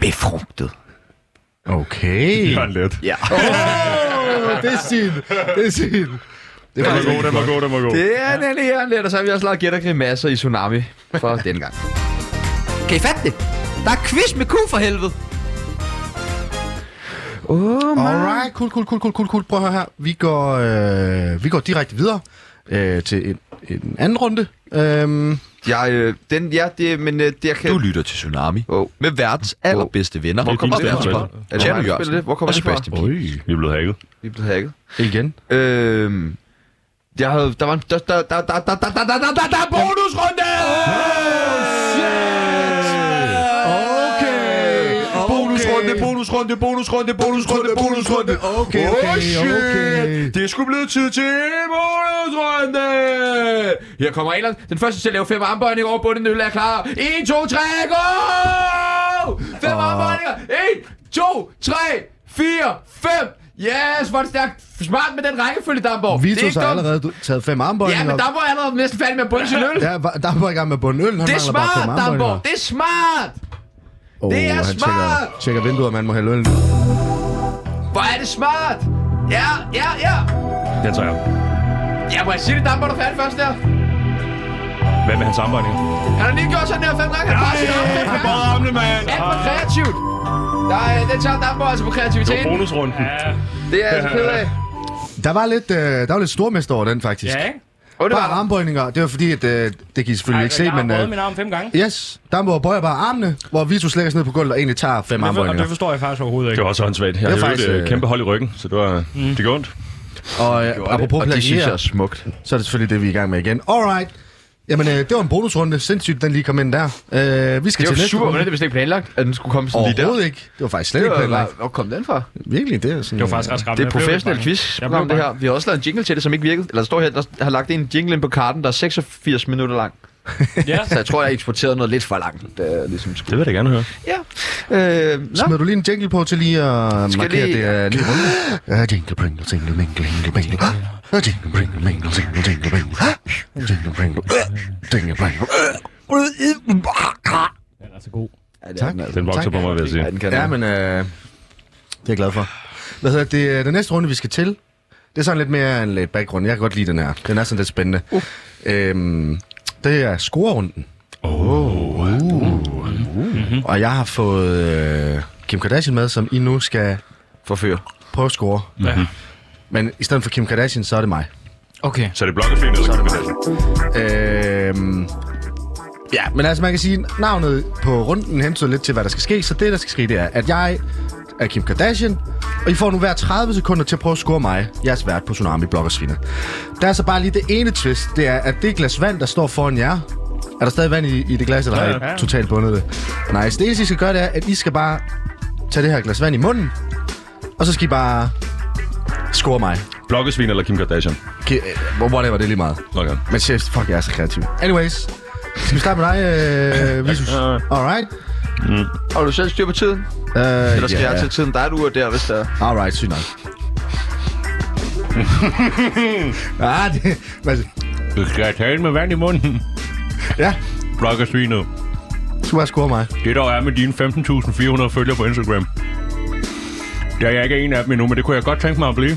[SPEAKER 10] befrugtet.
[SPEAKER 2] Okay.
[SPEAKER 6] Det var let. Ja.
[SPEAKER 2] Oh, det er sin. Det er sin. Det
[SPEAKER 6] Den
[SPEAKER 2] var
[SPEAKER 6] var god, den var god, den var god.
[SPEAKER 1] det er nemlig her lidt, og så har vi også lavet gæt og grimasser i Tsunami
[SPEAKER 5] (laughs)
[SPEAKER 1] for den gang.
[SPEAKER 4] Kan I fatte det? Der er quiz med ku for helvede.
[SPEAKER 2] Alright, cool, cool, cool, cool, cool, cool. Prøv at høre her. Vi går, øh, vi går direkte videre øh, til en, en anden runde. Øhm,
[SPEAKER 1] Jeg, øh, den, ja, det, men øh, det, jeg kan...
[SPEAKER 5] Du lytter til Tsunami
[SPEAKER 1] Wow.
[SPEAKER 5] med verdens allerbedste venner. Altså
[SPEAKER 6] Hvor kommer
[SPEAKER 5] Sebastian
[SPEAKER 6] det fra?
[SPEAKER 5] Pihl.
[SPEAKER 1] Er det
[SPEAKER 5] Tjerno
[SPEAKER 1] mig, der
[SPEAKER 5] Jørgensen
[SPEAKER 1] spiller det? Hvor kommer
[SPEAKER 5] og
[SPEAKER 1] det fra?
[SPEAKER 5] Sebastian Pihl.
[SPEAKER 6] Vi er blevet hacket.
[SPEAKER 1] Vi er blevet hacket.
[SPEAKER 2] igen.
[SPEAKER 1] Øhm, jeg havde, der var en, der, der, der, der, der, der, der, der, der, der, der er bonusrunde!
[SPEAKER 2] Okay. okay.
[SPEAKER 5] Bonusrunde, bonusrunde, bonusrunde, bonusrunde, bonusrunde.
[SPEAKER 2] Okay, okay,
[SPEAKER 5] oh, shit.
[SPEAKER 2] okay.
[SPEAKER 5] Det skulle blive tid til bonusrunde.
[SPEAKER 1] Her kommer Elon. Den første til at lave fem armbøjninger over bunden øl er klar. 1, 2, 3, go! Fem
[SPEAKER 2] Og-
[SPEAKER 1] armbøjninger. 1, 2, 3, 4, 5. Yes, hvor er det stærkt. Smart med den rækkefølge, Damborg. Det er
[SPEAKER 2] Vitus
[SPEAKER 1] ikke
[SPEAKER 2] har
[SPEAKER 1] dumt.
[SPEAKER 2] allerede du- taget fem
[SPEAKER 1] Ja,
[SPEAKER 2] armbøjninger.
[SPEAKER 1] men Damborg er allerede næsten færdig med at bunde sin øl.
[SPEAKER 2] Ja, var- der var i gang med at bunde øl. Han
[SPEAKER 1] Det er
[SPEAKER 2] mangler bare
[SPEAKER 1] smart,
[SPEAKER 2] fem
[SPEAKER 1] Damborg.
[SPEAKER 2] armbøjninger.
[SPEAKER 1] Det er smart.
[SPEAKER 2] Oh,
[SPEAKER 1] det er
[SPEAKER 2] han Tjekker,
[SPEAKER 1] smart.
[SPEAKER 2] tjekker vinduet, man må hælde øl. ned.
[SPEAKER 1] Hvor er det smart. Ja, ja, ja.
[SPEAKER 6] Den tager jeg.
[SPEAKER 1] Ja, må jeg sige det, Damborg, der er færdig først der?
[SPEAKER 6] Hvad med hans armbøjninger?
[SPEAKER 1] Han har lige gjort sådan her fem gange. Han har bare sit
[SPEAKER 6] Han bare armene, mand! Ah,
[SPEAKER 1] Alt for kreativt. Nej, den tager Damborg altså på
[SPEAKER 6] Det var
[SPEAKER 1] kreativiteten.
[SPEAKER 6] bonusrunden.
[SPEAKER 1] Det er jeg altså ked af.
[SPEAKER 2] Der var lidt, øh, der var lidt stormester over den, faktisk.
[SPEAKER 7] Ja, ikke?
[SPEAKER 1] Og det var
[SPEAKER 2] Bare
[SPEAKER 1] der.
[SPEAKER 2] armbøjninger. Det var fordi, at, øh, det kan I selvfølgelig
[SPEAKER 7] Ej,
[SPEAKER 2] ikke se,
[SPEAKER 7] jeg har
[SPEAKER 2] men...
[SPEAKER 7] prøvet
[SPEAKER 2] Øh,
[SPEAKER 7] min arm fem gange.
[SPEAKER 2] yes, Dambo bøjer bare armene, hvor Vitus lægger sig ned på gulvet og egentlig tager fem
[SPEAKER 7] Det for- og
[SPEAKER 2] armbøjninger.
[SPEAKER 7] det forstår jeg faktisk overhovedet
[SPEAKER 6] Det
[SPEAKER 7] ikke.
[SPEAKER 6] var også håndsvagt. Jeg
[SPEAKER 2] Det er
[SPEAKER 6] havde
[SPEAKER 2] faktisk,
[SPEAKER 6] faktisk, et
[SPEAKER 2] øh,
[SPEAKER 6] øh, kæmpe hold i ryggen, så det var... Mm. Det gjorde ondt.
[SPEAKER 2] Og øh, apropos
[SPEAKER 5] Og det synes jeg
[SPEAKER 2] plagier,
[SPEAKER 5] er smukt.
[SPEAKER 2] så er det selvfølgelig det, vi er i gang med igen. Alright. Jamen, øh, det var en bonusrunde. Sindssygt, den lige kom ind der. Øh, vi skal
[SPEAKER 1] Det
[SPEAKER 2] til
[SPEAKER 1] var
[SPEAKER 2] næste
[SPEAKER 1] super,
[SPEAKER 2] runde.
[SPEAKER 1] hvordan det vist ikke planlagt, at den skulle komme sådan lige der.
[SPEAKER 2] Overhovedet ikke. Det var faktisk slet
[SPEAKER 1] Det
[SPEAKER 2] ikke
[SPEAKER 1] var-
[SPEAKER 2] planlagt.
[SPEAKER 1] Hvor kom den fra?
[SPEAKER 2] Virkelig, det er sådan... øh,
[SPEAKER 7] Det var faktisk ret skræmmende.
[SPEAKER 1] Det er
[SPEAKER 7] Jeg blev lidt
[SPEAKER 1] professionelt
[SPEAKER 7] bange.
[SPEAKER 1] quiz
[SPEAKER 7] Jeg blev
[SPEAKER 1] om det her.
[SPEAKER 7] bange.
[SPEAKER 1] Vi har også lavet en jingle til det, som ikke virkede. Eller der står her, der har lagt en jingle ind på karten, der er 86 minutter lang.
[SPEAKER 7] Ja.
[SPEAKER 1] Så jeg tror, jeg eksporterede noget lidt for langt. Det er ligesom
[SPEAKER 6] Det vil jeg da gerne høre.
[SPEAKER 1] Ja. Øh, nå.
[SPEAKER 2] Smed du lige en jingle på til lige at
[SPEAKER 1] Skal
[SPEAKER 2] markere,
[SPEAKER 1] lige-
[SPEAKER 2] det er lige
[SPEAKER 1] (laughs)
[SPEAKER 2] Øh, runde?
[SPEAKER 10] Uh, jingle pringle, tingle mingle, jingle mingle.
[SPEAKER 2] Ah! Øh,
[SPEAKER 10] Uh, jingle pringle, mingle, tingle, jingle mingle. Uh, jingle pringle,
[SPEAKER 2] øh!
[SPEAKER 10] uh, jingle pringle.
[SPEAKER 7] Den er så god.
[SPEAKER 1] Ja, det er
[SPEAKER 2] Tak.
[SPEAKER 1] den altså.
[SPEAKER 6] Den vokser
[SPEAKER 2] Tak.
[SPEAKER 6] på mig, vil jeg sige.
[SPEAKER 1] Ja, den kan
[SPEAKER 2] Ja,
[SPEAKER 1] ja, men...
[SPEAKER 2] men øh, det er jeg glad for. Hvad hedder det? Øh, Den næste runde, vi skal til, det er sådan lidt mere en lidt baggrund. Jeg kan godt lide den her. Den er sådan lidt spændende. Uh. Øhm, det er scorerunden. Oh. Uh. Uh. Og jeg har fået øh, Kim Kardashian med, som I nu skal
[SPEAKER 1] Forfører.
[SPEAKER 2] prøve at score.
[SPEAKER 7] Ja.
[SPEAKER 2] Men i stedet for Kim Kardashian, så er det mig.
[SPEAKER 4] Okay.
[SPEAKER 6] Så det er blokkefen, eller kan det
[SPEAKER 2] Øhm, ja, men altså man kan sige, navnet på runden hentyder lidt til, hvad der skal ske. Så det, der skal ske, det er, at jeg er Kim Kardashian, og I får nu hver 30 sekunder til at prøve at score mig, jeres vært på Tsunami Bloggersvinet. Der er så bare lige det ene twist, det er, at det glas vand, der står foran jer, er der stadig vand i, i det glas, eller har
[SPEAKER 7] Ja, ja.
[SPEAKER 2] I totalt bundet det? Nice. Det eneste, I skal gøre, det er, at I skal bare tage det her glas vand i munden, og så skal I bare score mig.
[SPEAKER 6] Blokkesvin eller Kim Kardashian?
[SPEAKER 2] Ki- øh, Whatever, det er lige meget.
[SPEAKER 6] Okay.
[SPEAKER 2] Men chef, fuck, jeg er så kreativ. Anyways, skal vi starte med dig, øh, Visus? Alright.
[SPEAKER 1] Har du selv styr på tiden?
[SPEAKER 2] Uh,
[SPEAKER 1] Eller skal yeah. jeg til tiden? Der er du og der, hvis der er.
[SPEAKER 2] Alright, (laughs) sygt nok. ah, det, men,
[SPEAKER 11] Du skal tale med vand i munden.
[SPEAKER 2] Ja.
[SPEAKER 11] Blokkersvinet.
[SPEAKER 2] Du skal bare score mig.
[SPEAKER 11] Det der er med dine 15.400 følgere på Instagram. Der er jeg ikke en af dem endnu, men det kunne jeg godt tænke mig at blive.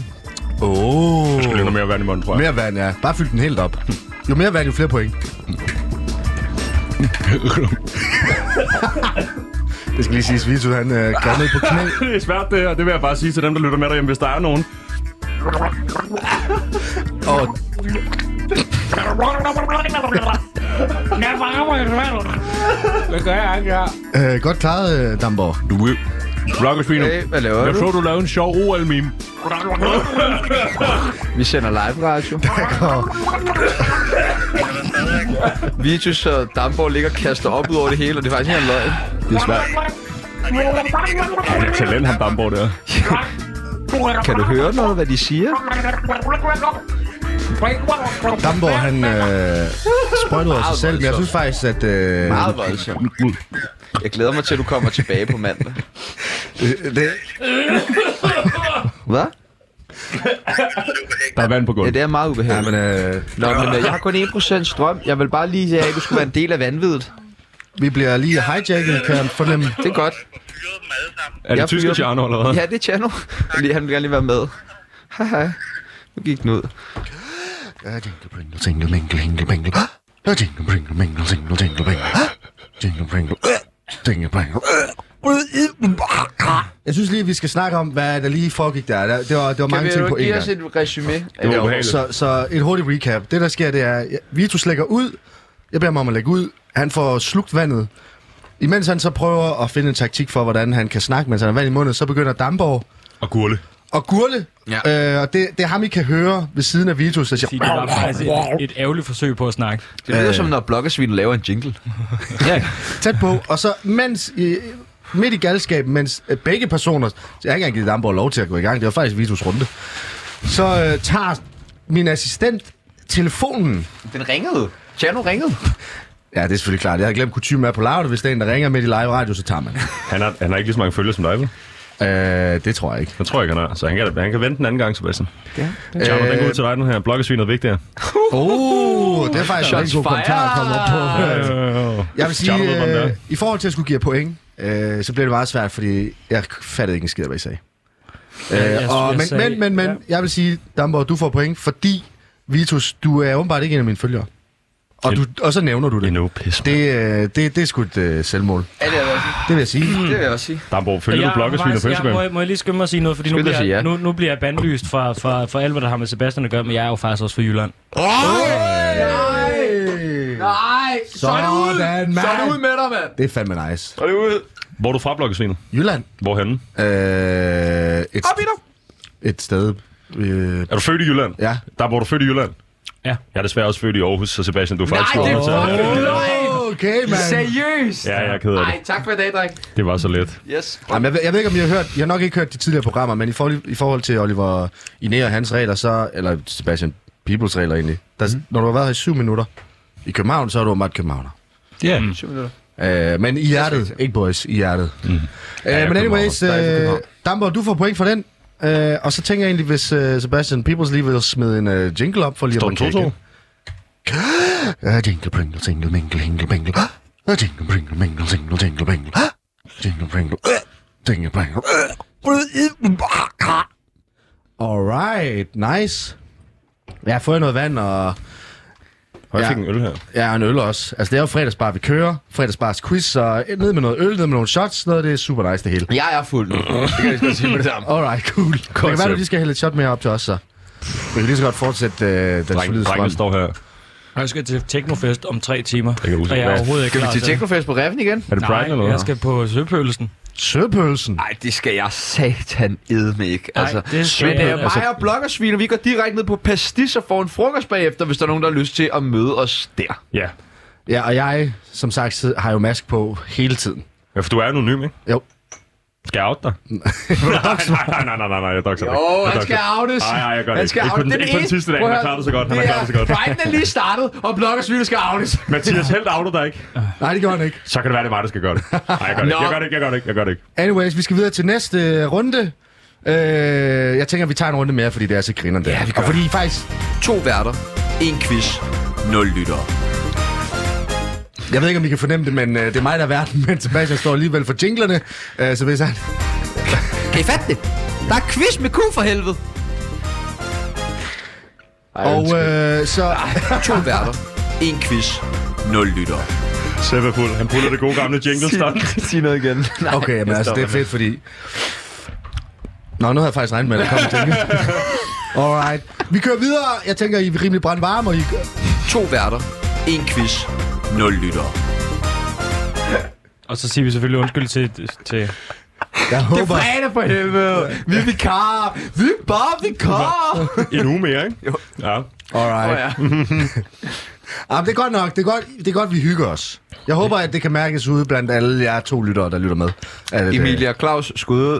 [SPEAKER 2] Åh. Oh.
[SPEAKER 11] Jeg skal lidt mere vand i munden, tror jeg.
[SPEAKER 2] Mere vand, ja. Bare fyld den helt op. Jo mere vand, jo flere (laughs) point. det skal lige siges, Vitus, han øh, går ned på knæ.
[SPEAKER 6] det er svært det her, det vil jeg bare sige til dem, der lytter med derhjemme, hvis der er nogen.
[SPEAKER 2] Og
[SPEAKER 7] Hvad gør jeg ikke her?
[SPEAKER 2] øh, godt klaret, øh, Damborg.
[SPEAKER 11] Du vil. Blokkersvinet.
[SPEAKER 1] Hey, hvad laver
[SPEAKER 11] Jeg
[SPEAKER 1] du?
[SPEAKER 11] så, du lavede en sjov OL-meme.
[SPEAKER 1] Vi sender live (laughs) radio. Vitus og Damborg ligger og kaster op ud over det hele, og det er faktisk ikke en løgn.
[SPEAKER 6] Det er svært. Ja, det er talent, han Damborg der.
[SPEAKER 1] Kan du høre noget, hvad de siger?
[SPEAKER 2] Damborg, han øh, sprøjtede sig selv, men jeg synes faktisk, at... Øh,
[SPEAKER 1] Meget voldsomt. Jeg glæder mig til, at du kommer tilbage på mandag.
[SPEAKER 2] det, øh, det,
[SPEAKER 1] Hvad?
[SPEAKER 11] Der er vand på
[SPEAKER 1] Ja,
[SPEAKER 11] gulvet.
[SPEAKER 1] det er meget
[SPEAKER 2] ja,
[SPEAKER 1] ubehageligt.
[SPEAKER 2] men, øh,
[SPEAKER 1] Nå, men øh, jeg har kun 1% strøm. Jeg vil bare lige sige, at du skulle være en del af vanvittet.
[SPEAKER 2] vi bliver lige hijacket, kan jeg fornemme.
[SPEAKER 1] Det er godt.
[SPEAKER 6] Er det
[SPEAKER 1] Jeg
[SPEAKER 6] tyske
[SPEAKER 1] fyrer-
[SPEAKER 6] Tjerno eller hvad?
[SPEAKER 1] Ja, det er Tjerno. Fordi Han vil gerne lige være med. Hej, hej. Nu gik den ud.
[SPEAKER 3] Jingle pringle, single mingle, hingle mingle. Ah, Jingle pringle, mingle, single jingle mingle. Ah, Jingle pringle, ah, jingle pringle. øh.
[SPEAKER 2] Jeg synes lige, vi skal snakke om, hvad der lige foregik der. Der- Det var, det var
[SPEAKER 1] Kan
[SPEAKER 2] mange ting på
[SPEAKER 1] vi
[SPEAKER 2] én
[SPEAKER 1] give
[SPEAKER 2] gang.
[SPEAKER 1] os et resume?
[SPEAKER 6] Det var ubehageligt.
[SPEAKER 2] Så, så et hurtigt recap. Det, der sker, det er, at Vitus lægger ud. Jeg beder mig om at lægge ud. Han får slugt vandet. Imens han så prøver at finde en taktik for, hvordan han kan snakke, mens han har vand i munden, så begynder Damborg
[SPEAKER 6] Og gurle.
[SPEAKER 2] at gurle. Ja. Øh, og det, det er ham, I kan høre ved siden af Vitus, der
[SPEAKER 7] Sige, det
[SPEAKER 2] siger...
[SPEAKER 7] var faktisk et, et ærgerligt forsøg på at snakke.
[SPEAKER 1] Det lyder som, når blokkesvin laver en jingle.
[SPEAKER 2] tæt på, og så mens i, midt i galskaben, mens øh, begge personer, jeg har ikke engang givet Damborg lov til at gå i gang, det var faktisk Vitus runde, så øh, tager min assistent telefonen.
[SPEAKER 1] Den ringede. Tjerno ringede.
[SPEAKER 2] Ja, det er selvfølgelig klart. Jeg havde glemt kutume er på lavet, hvis der er en, der ringer midt i live radio, så tager man. den.
[SPEAKER 6] Han har, han har ikke lige så mange følgere som dig, vel?
[SPEAKER 2] (laughs) øh, det tror jeg ikke.
[SPEAKER 6] Jeg tror ikke, han har. Så han kan, han kan vente den anden gang, Sebastian. Ja. Tjerno, den går ud til
[SPEAKER 1] Øh,
[SPEAKER 6] dig nu her. Blokkesvinet vigtigere.
[SPEAKER 2] Åh, oh, det er faktisk en rigtig god kommentar at komme op på. (laughs) Jeg vil sige, øh, i forhold til at skulle give jer point, øh, så blev det meget svært, fordi jeg fattede ikke en skid, af, hvad I sagde. Øh,
[SPEAKER 7] jeg-
[SPEAKER 2] og,
[SPEAKER 7] jeg
[SPEAKER 2] men,
[SPEAKER 7] sagde-
[SPEAKER 2] men, men, men,
[SPEAKER 7] ja.
[SPEAKER 2] jeg vil sige, Damborg, du får point, fordi, Vitus, du er åbenbart ikke en af mine følgere. Og, du, og så nævner du det.
[SPEAKER 6] Endnu pis. Det...
[SPEAKER 2] Det, øh, det, det er sgu et øh, selvmål.
[SPEAKER 1] Ja, det vil jeg også sige.
[SPEAKER 2] Det vil jeg sige.
[SPEAKER 1] (clears throat) Det vil jeg også sige.
[SPEAKER 6] Damborg, følger
[SPEAKER 7] Jeg
[SPEAKER 6] du
[SPEAKER 7] er
[SPEAKER 6] blokkesvinet
[SPEAKER 7] faktisk-
[SPEAKER 6] på
[SPEAKER 7] jeg-
[SPEAKER 6] Instagram?
[SPEAKER 7] Må jeg, må jeg lige skynde mig at sige noget, fordi nu
[SPEAKER 1] Skynd dig
[SPEAKER 7] bliver,
[SPEAKER 1] at sige ja.
[SPEAKER 7] nu, nu bliver jeg bandlyst fra, fra, fra alt, hvad der har med Sebastian at gøre, men jeg er jo faktisk også fra Jylland.
[SPEAKER 1] Nej, så er det ud.
[SPEAKER 2] Sådan, mand.
[SPEAKER 1] Så er det ud med dig, mand.
[SPEAKER 2] Det er fandme nice.
[SPEAKER 1] Så er det ud.
[SPEAKER 6] Hvor er du fra, blokkesvinet?
[SPEAKER 2] Jylland.
[SPEAKER 6] Hvorhenne?
[SPEAKER 2] Øh, et,
[SPEAKER 1] Op i dig.
[SPEAKER 2] et sted. Øh,
[SPEAKER 6] Er du født i Jylland?
[SPEAKER 2] ja.
[SPEAKER 6] Der, hvor du er født i Jylland?
[SPEAKER 7] Ja.
[SPEAKER 6] Jeg er desværre også født i Aarhus, så Sebastian, du er faktisk
[SPEAKER 1] Nej, det er
[SPEAKER 6] fra Aarhus.
[SPEAKER 1] fucking løgn.
[SPEAKER 2] Okay, man.
[SPEAKER 1] Seriøst.
[SPEAKER 6] Ja, jeg er ked af det.
[SPEAKER 1] Nej, tak for i dag, dreng.
[SPEAKER 6] Det var så let.
[SPEAKER 1] Yes.
[SPEAKER 2] Jamen, jeg, ved, jeg ved ikke, om I har hørt... Jeg har nok ikke hørt de tidligere programmer, men i forhold, i forhold til Oliver Iné og hans regler, så... Eller Sebastian Peoples regler, egentlig. Der, mm. Når du har været her i syv minutter i København, så er du åbenbart københavner.
[SPEAKER 7] Ja. Mm.
[SPEAKER 1] Syv minutter.
[SPEAKER 2] Øh, men i hjertet. Ikke boys, i hjertet. Mm. Øh, men anyways,
[SPEAKER 1] Der er ikke
[SPEAKER 2] øh,
[SPEAKER 1] København.
[SPEAKER 2] Damborg, du får point for den. Øh, og så tænker jeg egentlig, hvis øh, Sebastian Peoples lige vil smide en øh, jingle op for lige at Øh,
[SPEAKER 6] Står den
[SPEAKER 2] markere
[SPEAKER 6] 2-2?
[SPEAKER 2] igen.
[SPEAKER 3] Ah, Jingle pringle, single mingle, hingle
[SPEAKER 2] (gasps)
[SPEAKER 3] mingle. Ah,
[SPEAKER 2] Øh,
[SPEAKER 3] Jingle pringle, mingle, single jingle mingle. Ah, Jingle pringle, ah, jingle pringle. Ah.
[SPEAKER 2] Alright, nice. Jeg har fået noget vand og
[SPEAKER 6] Og jeg
[SPEAKER 2] Ja.
[SPEAKER 6] fik en øl her.
[SPEAKER 2] ja, og en øl også. Altså, det er jo fredagsbar, vi kører. Fredagsbars quiz, så ned med noget øl, ned med nogle shots, noget af det er super nice det hele.
[SPEAKER 1] Jeg er fuld nu. Det kan jeg lige så godt sige med det samme.
[SPEAKER 2] Alright, cool. Det kan være,
[SPEAKER 6] Concept.
[SPEAKER 2] du lige skal hælde et shot mere op til os, så. Vi kan lige så godt fortsætte øh, den solide
[SPEAKER 6] Dreng,
[SPEAKER 2] strøm.
[SPEAKER 6] drengen står her.
[SPEAKER 7] Og jeg skal til Teknofest om tre timer,
[SPEAKER 6] kan jeg huske.
[SPEAKER 7] og jeg er overhovedet ikke
[SPEAKER 1] Skal vi
[SPEAKER 7] klar
[SPEAKER 1] til
[SPEAKER 7] det.
[SPEAKER 1] Teknofest på Reffen igen?
[SPEAKER 6] Er det Brian eller
[SPEAKER 7] Nej, jeg
[SPEAKER 6] hvad?
[SPEAKER 7] skal på Søpølsen.
[SPEAKER 2] Søpølsen.
[SPEAKER 1] Nej, det skal jeg satan edme ikke. Altså,
[SPEAKER 7] det skal
[SPEAKER 1] Svend,
[SPEAKER 7] jeg
[SPEAKER 1] øh,
[SPEAKER 7] ikke.
[SPEAKER 1] mig og bloggersvin, og vi går direkte ned på pastis og får en frokost bagefter, hvis der er nogen, der har lyst til at møde os der.
[SPEAKER 6] Ja.
[SPEAKER 2] Ja, og jeg, som sagt, sid- har jo mask på hele tiden.
[SPEAKER 6] Ja, for du er anonym, ikke?
[SPEAKER 2] Jo.
[SPEAKER 6] Skal jeg
[SPEAKER 2] (laughs)
[SPEAKER 6] out dig? nej, nej, nej, nej, nej, nej, jeg dokser dig.
[SPEAKER 1] Åh,
[SPEAKER 6] Jeg
[SPEAKER 1] han
[SPEAKER 6] dokser
[SPEAKER 1] skal
[SPEAKER 6] dig.
[SPEAKER 1] outes.
[SPEAKER 6] Nej, nej, jeg gør det
[SPEAKER 1] Han
[SPEAKER 6] ikke.
[SPEAKER 1] skal
[SPEAKER 6] Ikke på den,
[SPEAKER 1] outes.
[SPEAKER 6] ikke på den sidste dag. Han har klaret det så godt. Han har klaret det så godt.
[SPEAKER 1] Fighten er lige startet, og bloggersvin skal outes.
[SPEAKER 6] Mathias, helt outer dig ikke.
[SPEAKER 2] Nej, det gjorde han ikke.
[SPEAKER 6] Så kan det være, det er mig, der skal gøre det. Nej, jeg gør det ikke. Jeg gør det ikke. Jeg gør det ikke. Jeg gør det ikke.
[SPEAKER 2] Anyways, vi skal videre til næste øh, runde. Øh, jeg tænker, vi tager en runde mere, fordi det er så griner der. Ja, vi og fordi I faktisk...
[SPEAKER 1] To værter, en quiz,
[SPEAKER 8] Nul lyttere.
[SPEAKER 2] Jeg ved ikke, om I kan fornemme det, men øh, det er mig, der er verden, men Sebastian står alligevel for jinglerne, øh, så hvis han...
[SPEAKER 8] Kan I fatte det? Der er quiz med Q for helvede.
[SPEAKER 2] Og øh, så...
[SPEAKER 1] to værter. En quiz.
[SPEAKER 8] Nul lyttere.
[SPEAKER 6] Sebbe Pull, han puller det gode gamle
[SPEAKER 1] (laughs)
[SPEAKER 6] jingle stunt.
[SPEAKER 1] Sig noget igen.
[SPEAKER 6] Nej,
[SPEAKER 2] (laughs) Okay, men
[SPEAKER 6] jeg
[SPEAKER 2] altså, det er
[SPEAKER 6] stopper
[SPEAKER 2] fedt, fordi... Nå, nu havde jeg faktisk regnet med, at der kom
[SPEAKER 12] (laughs)
[SPEAKER 2] en jingle. Alright. Vi kører videre. Jeg tænker, I er rimelig brandvarme, og I...
[SPEAKER 1] To værter. En quiz.
[SPEAKER 8] Nul lyttere.
[SPEAKER 7] Og så siger vi selvfølgelig undskyld til... til
[SPEAKER 2] Jeg håber...
[SPEAKER 12] Det er fredag for helvede. Vi er vikarer. Vi er bare vikarer.
[SPEAKER 6] En uge mere, ikke? Jo. Ja.
[SPEAKER 2] Alright. Oh, ja. Jamen, Ah, det er godt nok. Det er godt, det er godt, vi hygger os. Jeg håber, at det kan mærkes ude blandt alle jer to lyttere, der lytter med. At, øh,
[SPEAKER 1] Emilie og Claus, skud ud.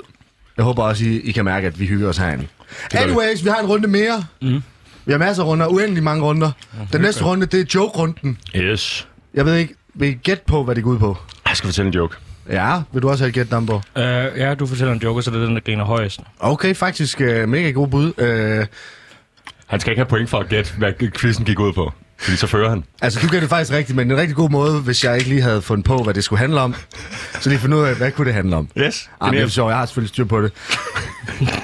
[SPEAKER 2] Jeg håber også, I, I kan mærke, at vi hygger os herinde. Anyways, vi har en runde mere.
[SPEAKER 7] Mm.
[SPEAKER 2] Vi har masser af runder. Uendelig mange runder. Den næste runde, det er joke-runden.
[SPEAKER 6] Yes.
[SPEAKER 2] Jeg ved ikke, vil I gætte på, hvad det går ud på?
[SPEAKER 6] Jeg skal fortælle en joke.
[SPEAKER 2] Ja, vil du også have et gæt, Dambo?
[SPEAKER 7] Øh, ja, du fortæller en joke, så det er den, der griner højest.
[SPEAKER 2] Okay, faktisk øh, mega god bud. Øh,
[SPEAKER 6] Han skal ikke have point for at gætte, hvad quizzen gik ud på. Fordi så fører han.
[SPEAKER 2] altså, du gør det faktisk rigtigt, men en rigtig god måde, hvis jeg ikke lige havde fundet på, hvad det skulle handle om. Så lige finde ud af, hvad kunne det handle om?
[SPEAKER 6] Yes.
[SPEAKER 2] Ah, det er sjovt, jeg har selvfølgelig styr på det.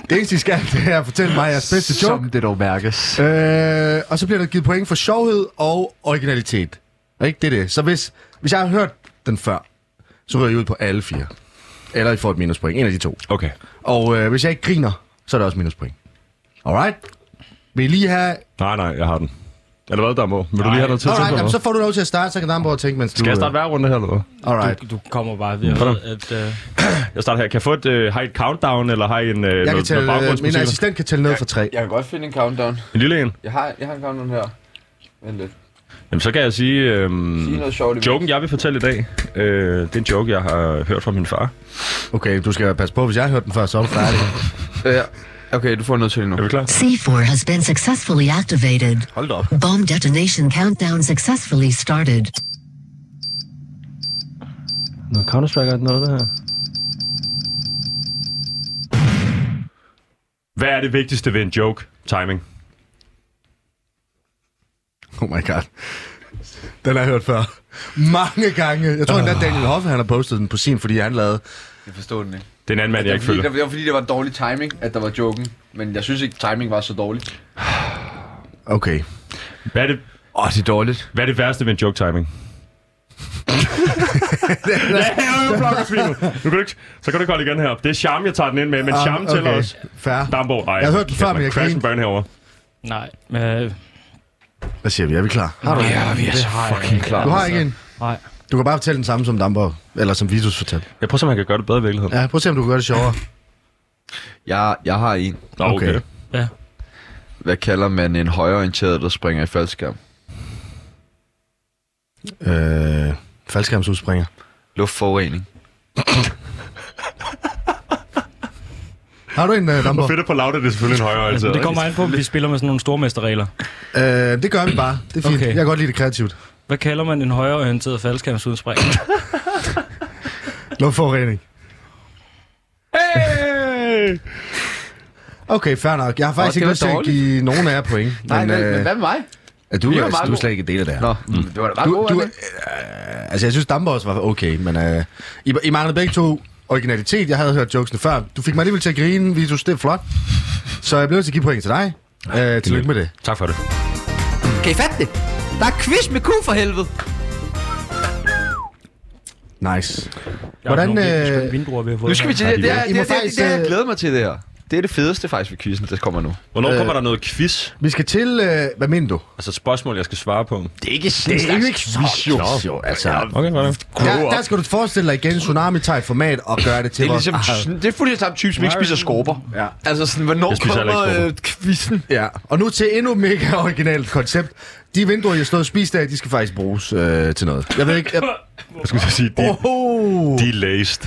[SPEAKER 2] det eneste, I skal, det er at fortælle mig jeres bedste joke.
[SPEAKER 12] Som det dog mærkes.
[SPEAKER 2] Øh, og så bliver der givet point for sjovhed og originalitet. Og ikke det er det. Så hvis, hvis jeg har hørt den før, så ryger jeg ud på alle fire. Eller I får et minuspoint. En af de to.
[SPEAKER 6] Okay.
[SPEAKER 2] Og øh, hvis jeg ikke griner, så er det også minuspoint. Alright? Vil I lige have...
[SPEAKER 6] Nej, nej, jeg har den. Eller hvad, Dambo? Vil du lige have noget tid til?
[SPEAKER 2] Alright,
[SPEAKER 6] eller
[SPEAKER 2] jamen,
[SPEAKER 6] hvad?
[SPEAKER 2] så får du lov til at starte, så kan Damborg tænke, mens du...
[SPEAKER 6] Skal jeg starte hver runde her, eller hvad?
[SPEAKER 2] Alright.
[SPEAKER 7] Du, du kommer bare videre.
[SPEAKER 6] Hvordan?
[SPEAKER 7] At, øh,
[SPEAKER 6] Jeg starter her. Kan jeg få et, øh, har I et countdown, eller har I en, øh, noget,
[SPEAKER 2] Jeg kan
[SPEAKER 6] noget
[SPEAKER 2] tælle, øh, min
[SPEAKER 6] baggrundsmusik?
[SPEAKER 2] assistent kan tælle ned for tre.
[SPEAKER 12] Jeg kan godt finde en countdown.
[SPEAKER 6] En lille en?
[SPEAKER 12] Jeg har, jeg har en countdown her. Vent lidt.
[SPEAKER 6] Jamen, så kan jeg sige... Øh,
[SPEAKER 12] Sig noget sjovt.
[SPEAKER 6] joken, jeg vil fortælle i dag, øh, det er en joke, jeg har hørt fra min far.
[SPEAKER 2] Okay, du skal passe på, hvis jeg har hørt den før, så er du færdig.
[SPEAKER 1] Ja. Okay, du får noget til nu.
[SPEAKER 6] Er vi klar?
[SPEAKER 13] C4 has been successfully activated.
[SPEAKER 6] Hold da op.
[SPEAKER 13] Bomb detonation countdown successfully started.
[SPEAKER 7] noget Counter-Strike eller noget, der her.
[SPEAKER 6] Hvad er det vigtigste ved en joke? Timing.
[SPEAKER 2] (laughs) Oh my god. Den har jeg hørt før. Mange gange. Jeg tror endda, Daniel Hoffe han har postet den på sin, fordi han lavede...
[SPEAKER 12] Jeg forstod den ikke.
[SPEAKER 6] Det er en anden mand,
[SPEAKER 1] Altså,
[SPEAKER 6] jeg ikke
[SPEAKER 12] fordi,
[SPEAKER 6] føler.
[SPEAKER 12] det, var, det var fordi, det var dårlig timing, at der var joken. Men jeg synes ikke, timing var så dårlig.
[SPEAKER 2] Okay.
[SPEAKER 6] Hvad er det,
[SPEAKER 1] Åh, oh, det er dårligt.
[SPEAKER 6] hvad er det værste ved en joke
[SPEAKER 2] (laughs)
[SPEAKER 6] timing? ja, jeg blokker Nu kan du ikke, så kan du ikke holde igen her. Det er charme, jeg tager den ind med, men
[SPEAKER 2] Ah,
[SPEAKER 6] charme tæller
[SPEAKER 2] okay.
[SPEAKER 6] også.
[SPEAKER 2] Fair.
[SPEAKER 6] Dambo, ej.
[SPEAKER 2] Jeg har hørt den
[SPEAKER 6] kæft,
[SPEAKER 2] før,
[SPEAKER 6] man.
[SPEAKER 2] men jeg
[SPEAKER 6] Crash and
[SPEAKER 2] griner.
[SPEAKER 6] burn herovre.
[SPEAKER 7] Nej, øh,
[SPEAKER 2] Hvad siger vi? Er vi klar? Har du,
[SPEAKER 1] Ja, vi er så
[SPEAKER 7] har jeg
[SPEAKER 1] fucking
[SPEAKER 7] ikke.
[SPEAKER 1] klar.
[SPEAKER 2] du har ikke en?
[SPEAKER 7] nej.
[SPEAKER 2] Du kan bare fortælle den samme som Damborg. Eller som Vitus fortalte.
[SPEAKER 6] Jeg prøver at se, om jeg kan gøre det bedre i virkeligheden.
[SPEAKER 2] Ja, prøv at se, om du kan gøre det sjovere.
[SPEAKER 1] Jeg, jeg har en.
[SPEAKER 6] Nå, okay.
[SPEAKER 2] okay.
[SPEAKER 6] okay.
[SPEAKER 1] Hvad kalder man en højorienteret, der springer i faldskærm?
[SPEAKER 2] Øh, faldskærmsudspringer.
[SPEAKER 1] Luftforurening.
[SPEAKER 2] Har du en, uh, Damborg?
[SPEAKER 6] Fedt at på Lauda, det er selvfølgelig en højere altså.
[SPEAKER 7] Men det kommer an på, om vi spiller med sådan nogle stormesterregler.
[SPEAKER 2] Øh, det gør vi bare. Det er fint.
[SPEAKER 7] Okay.
[SPEAKER 2] Jeg kan godt lide det kreativt.
[SPEAKER 7] Hvad kalder man en højreorienteret faldskærmsudspring?
[SPEAKER 2] Luftforurening.
[SPEAKER 6] Hey!
[SPEAKER 2] Okay, fair nok. Jeg har faktisk
[SPEAKER 12] Åh, det
[SPEAKER 2] ikke
[SPEAKER 12] var
[SPEAKER 2] lyst til at
[SPEAKER 12] dårligt.
[SPEAKER 2] give nogen af jer point.
[SPEAKER 12] Nej, men, men hvad med mig?
[SPEAKER 2] øh, du,
[SPEAKER 12] Vi var
[SPEAKER 2] er,
[SPEAKER 12] meget
[SPEAKER 2] du er
[SPEAKER 12] gode.
[SPEAKER 2] slet ikke en del af det her.
[SPEAKER 1] Nå,
[SPEAKER 12] Det var da bare
[SPEAKER 2] Du,
[SPEAKER 12] god,
[SPEAKER 2] du,
[SPEAKER 12] du,
[SPEAKER 2] øh, altså, jeg synes, Damborg også var okay, men øh, I, I manglede begge to originalitet. Jeg havde hørt jokesene før. Du fik mig alligevel til at grine, Vitus. Det er flot. Så jeg blev nødt til at give point til dig. Øh, tillykke med det.
[SPEAKER 6] Tak for det.
[SPEAKER 8] Kan I fatte det? Der er quiz med Q for helvede.
[SPEAKER 2] Nice.
[SPEAKER 7] Jeg har
[SPEAKER 2] Hvordan,
[SPEAKER 7] nogle virkelig
[SPEAKER 2] øh,
[SPEAKER 7] skønne vindruer, vi har fået
[SPEAKER 1] Nu skal vi til det. Det er det, er-
[SPEAKER 2] I må
[SPEAKER 1] det, er- det,
[SPEAKER 2] faktisk,
[SPEAKER 1] er- det, er-
[SPEAKER 2] øh,
[SPEAKER 1] jeg glæder mig til, det her. Det er det fedeste faktisk ved quizzen, der kommer nu.
[SPEAKER 6] Hvornår
[SPEAKER 2] Øh.
[SPEAKER 6] kommer der noget quiz?
[SPEAKER 2] Vi skal til... Øh, hvad mener du?
[SPEAKER 6] Altså et spørgsmål, jeg skal svare på.
[SPEAKER 1] Det er ikke sådan det er ikke quiz, jo.
[SPEAKER 2] Jo, altså...
[SPEAKER 6] Okay, hvordan?
[SPEAKER 2] Ja, der skal du forestille dig igen tsunami type format og gøre det til
[SPEAKER 1] Det er
[SPEAKER 2] vores...
[SPEAKER 8] Ah.
[SPEAKER 1] ligesom, det er fuldstændig samme type, som ikke spiser skorper.
[SPEAKER 2] Ja.
[SPEAKER 1] Altså sådan, hvornår
[SPEAKER 6] Jeg spiser heller ikke
[SPEAKER 1] kommer øh, quizzen?
[SPEAKER 2] Ja, og nu til endnu mega originalt koncept. De vinduer, jeg stod og spiste af, de skal faktisk bruges øh, til noget. Jeg ved ikke... Jeg...
[SPEAKER 6] Jeg skulle så sige, de,
[SPEAKER 2] Oh,
[SPEAKER 6] de er laced.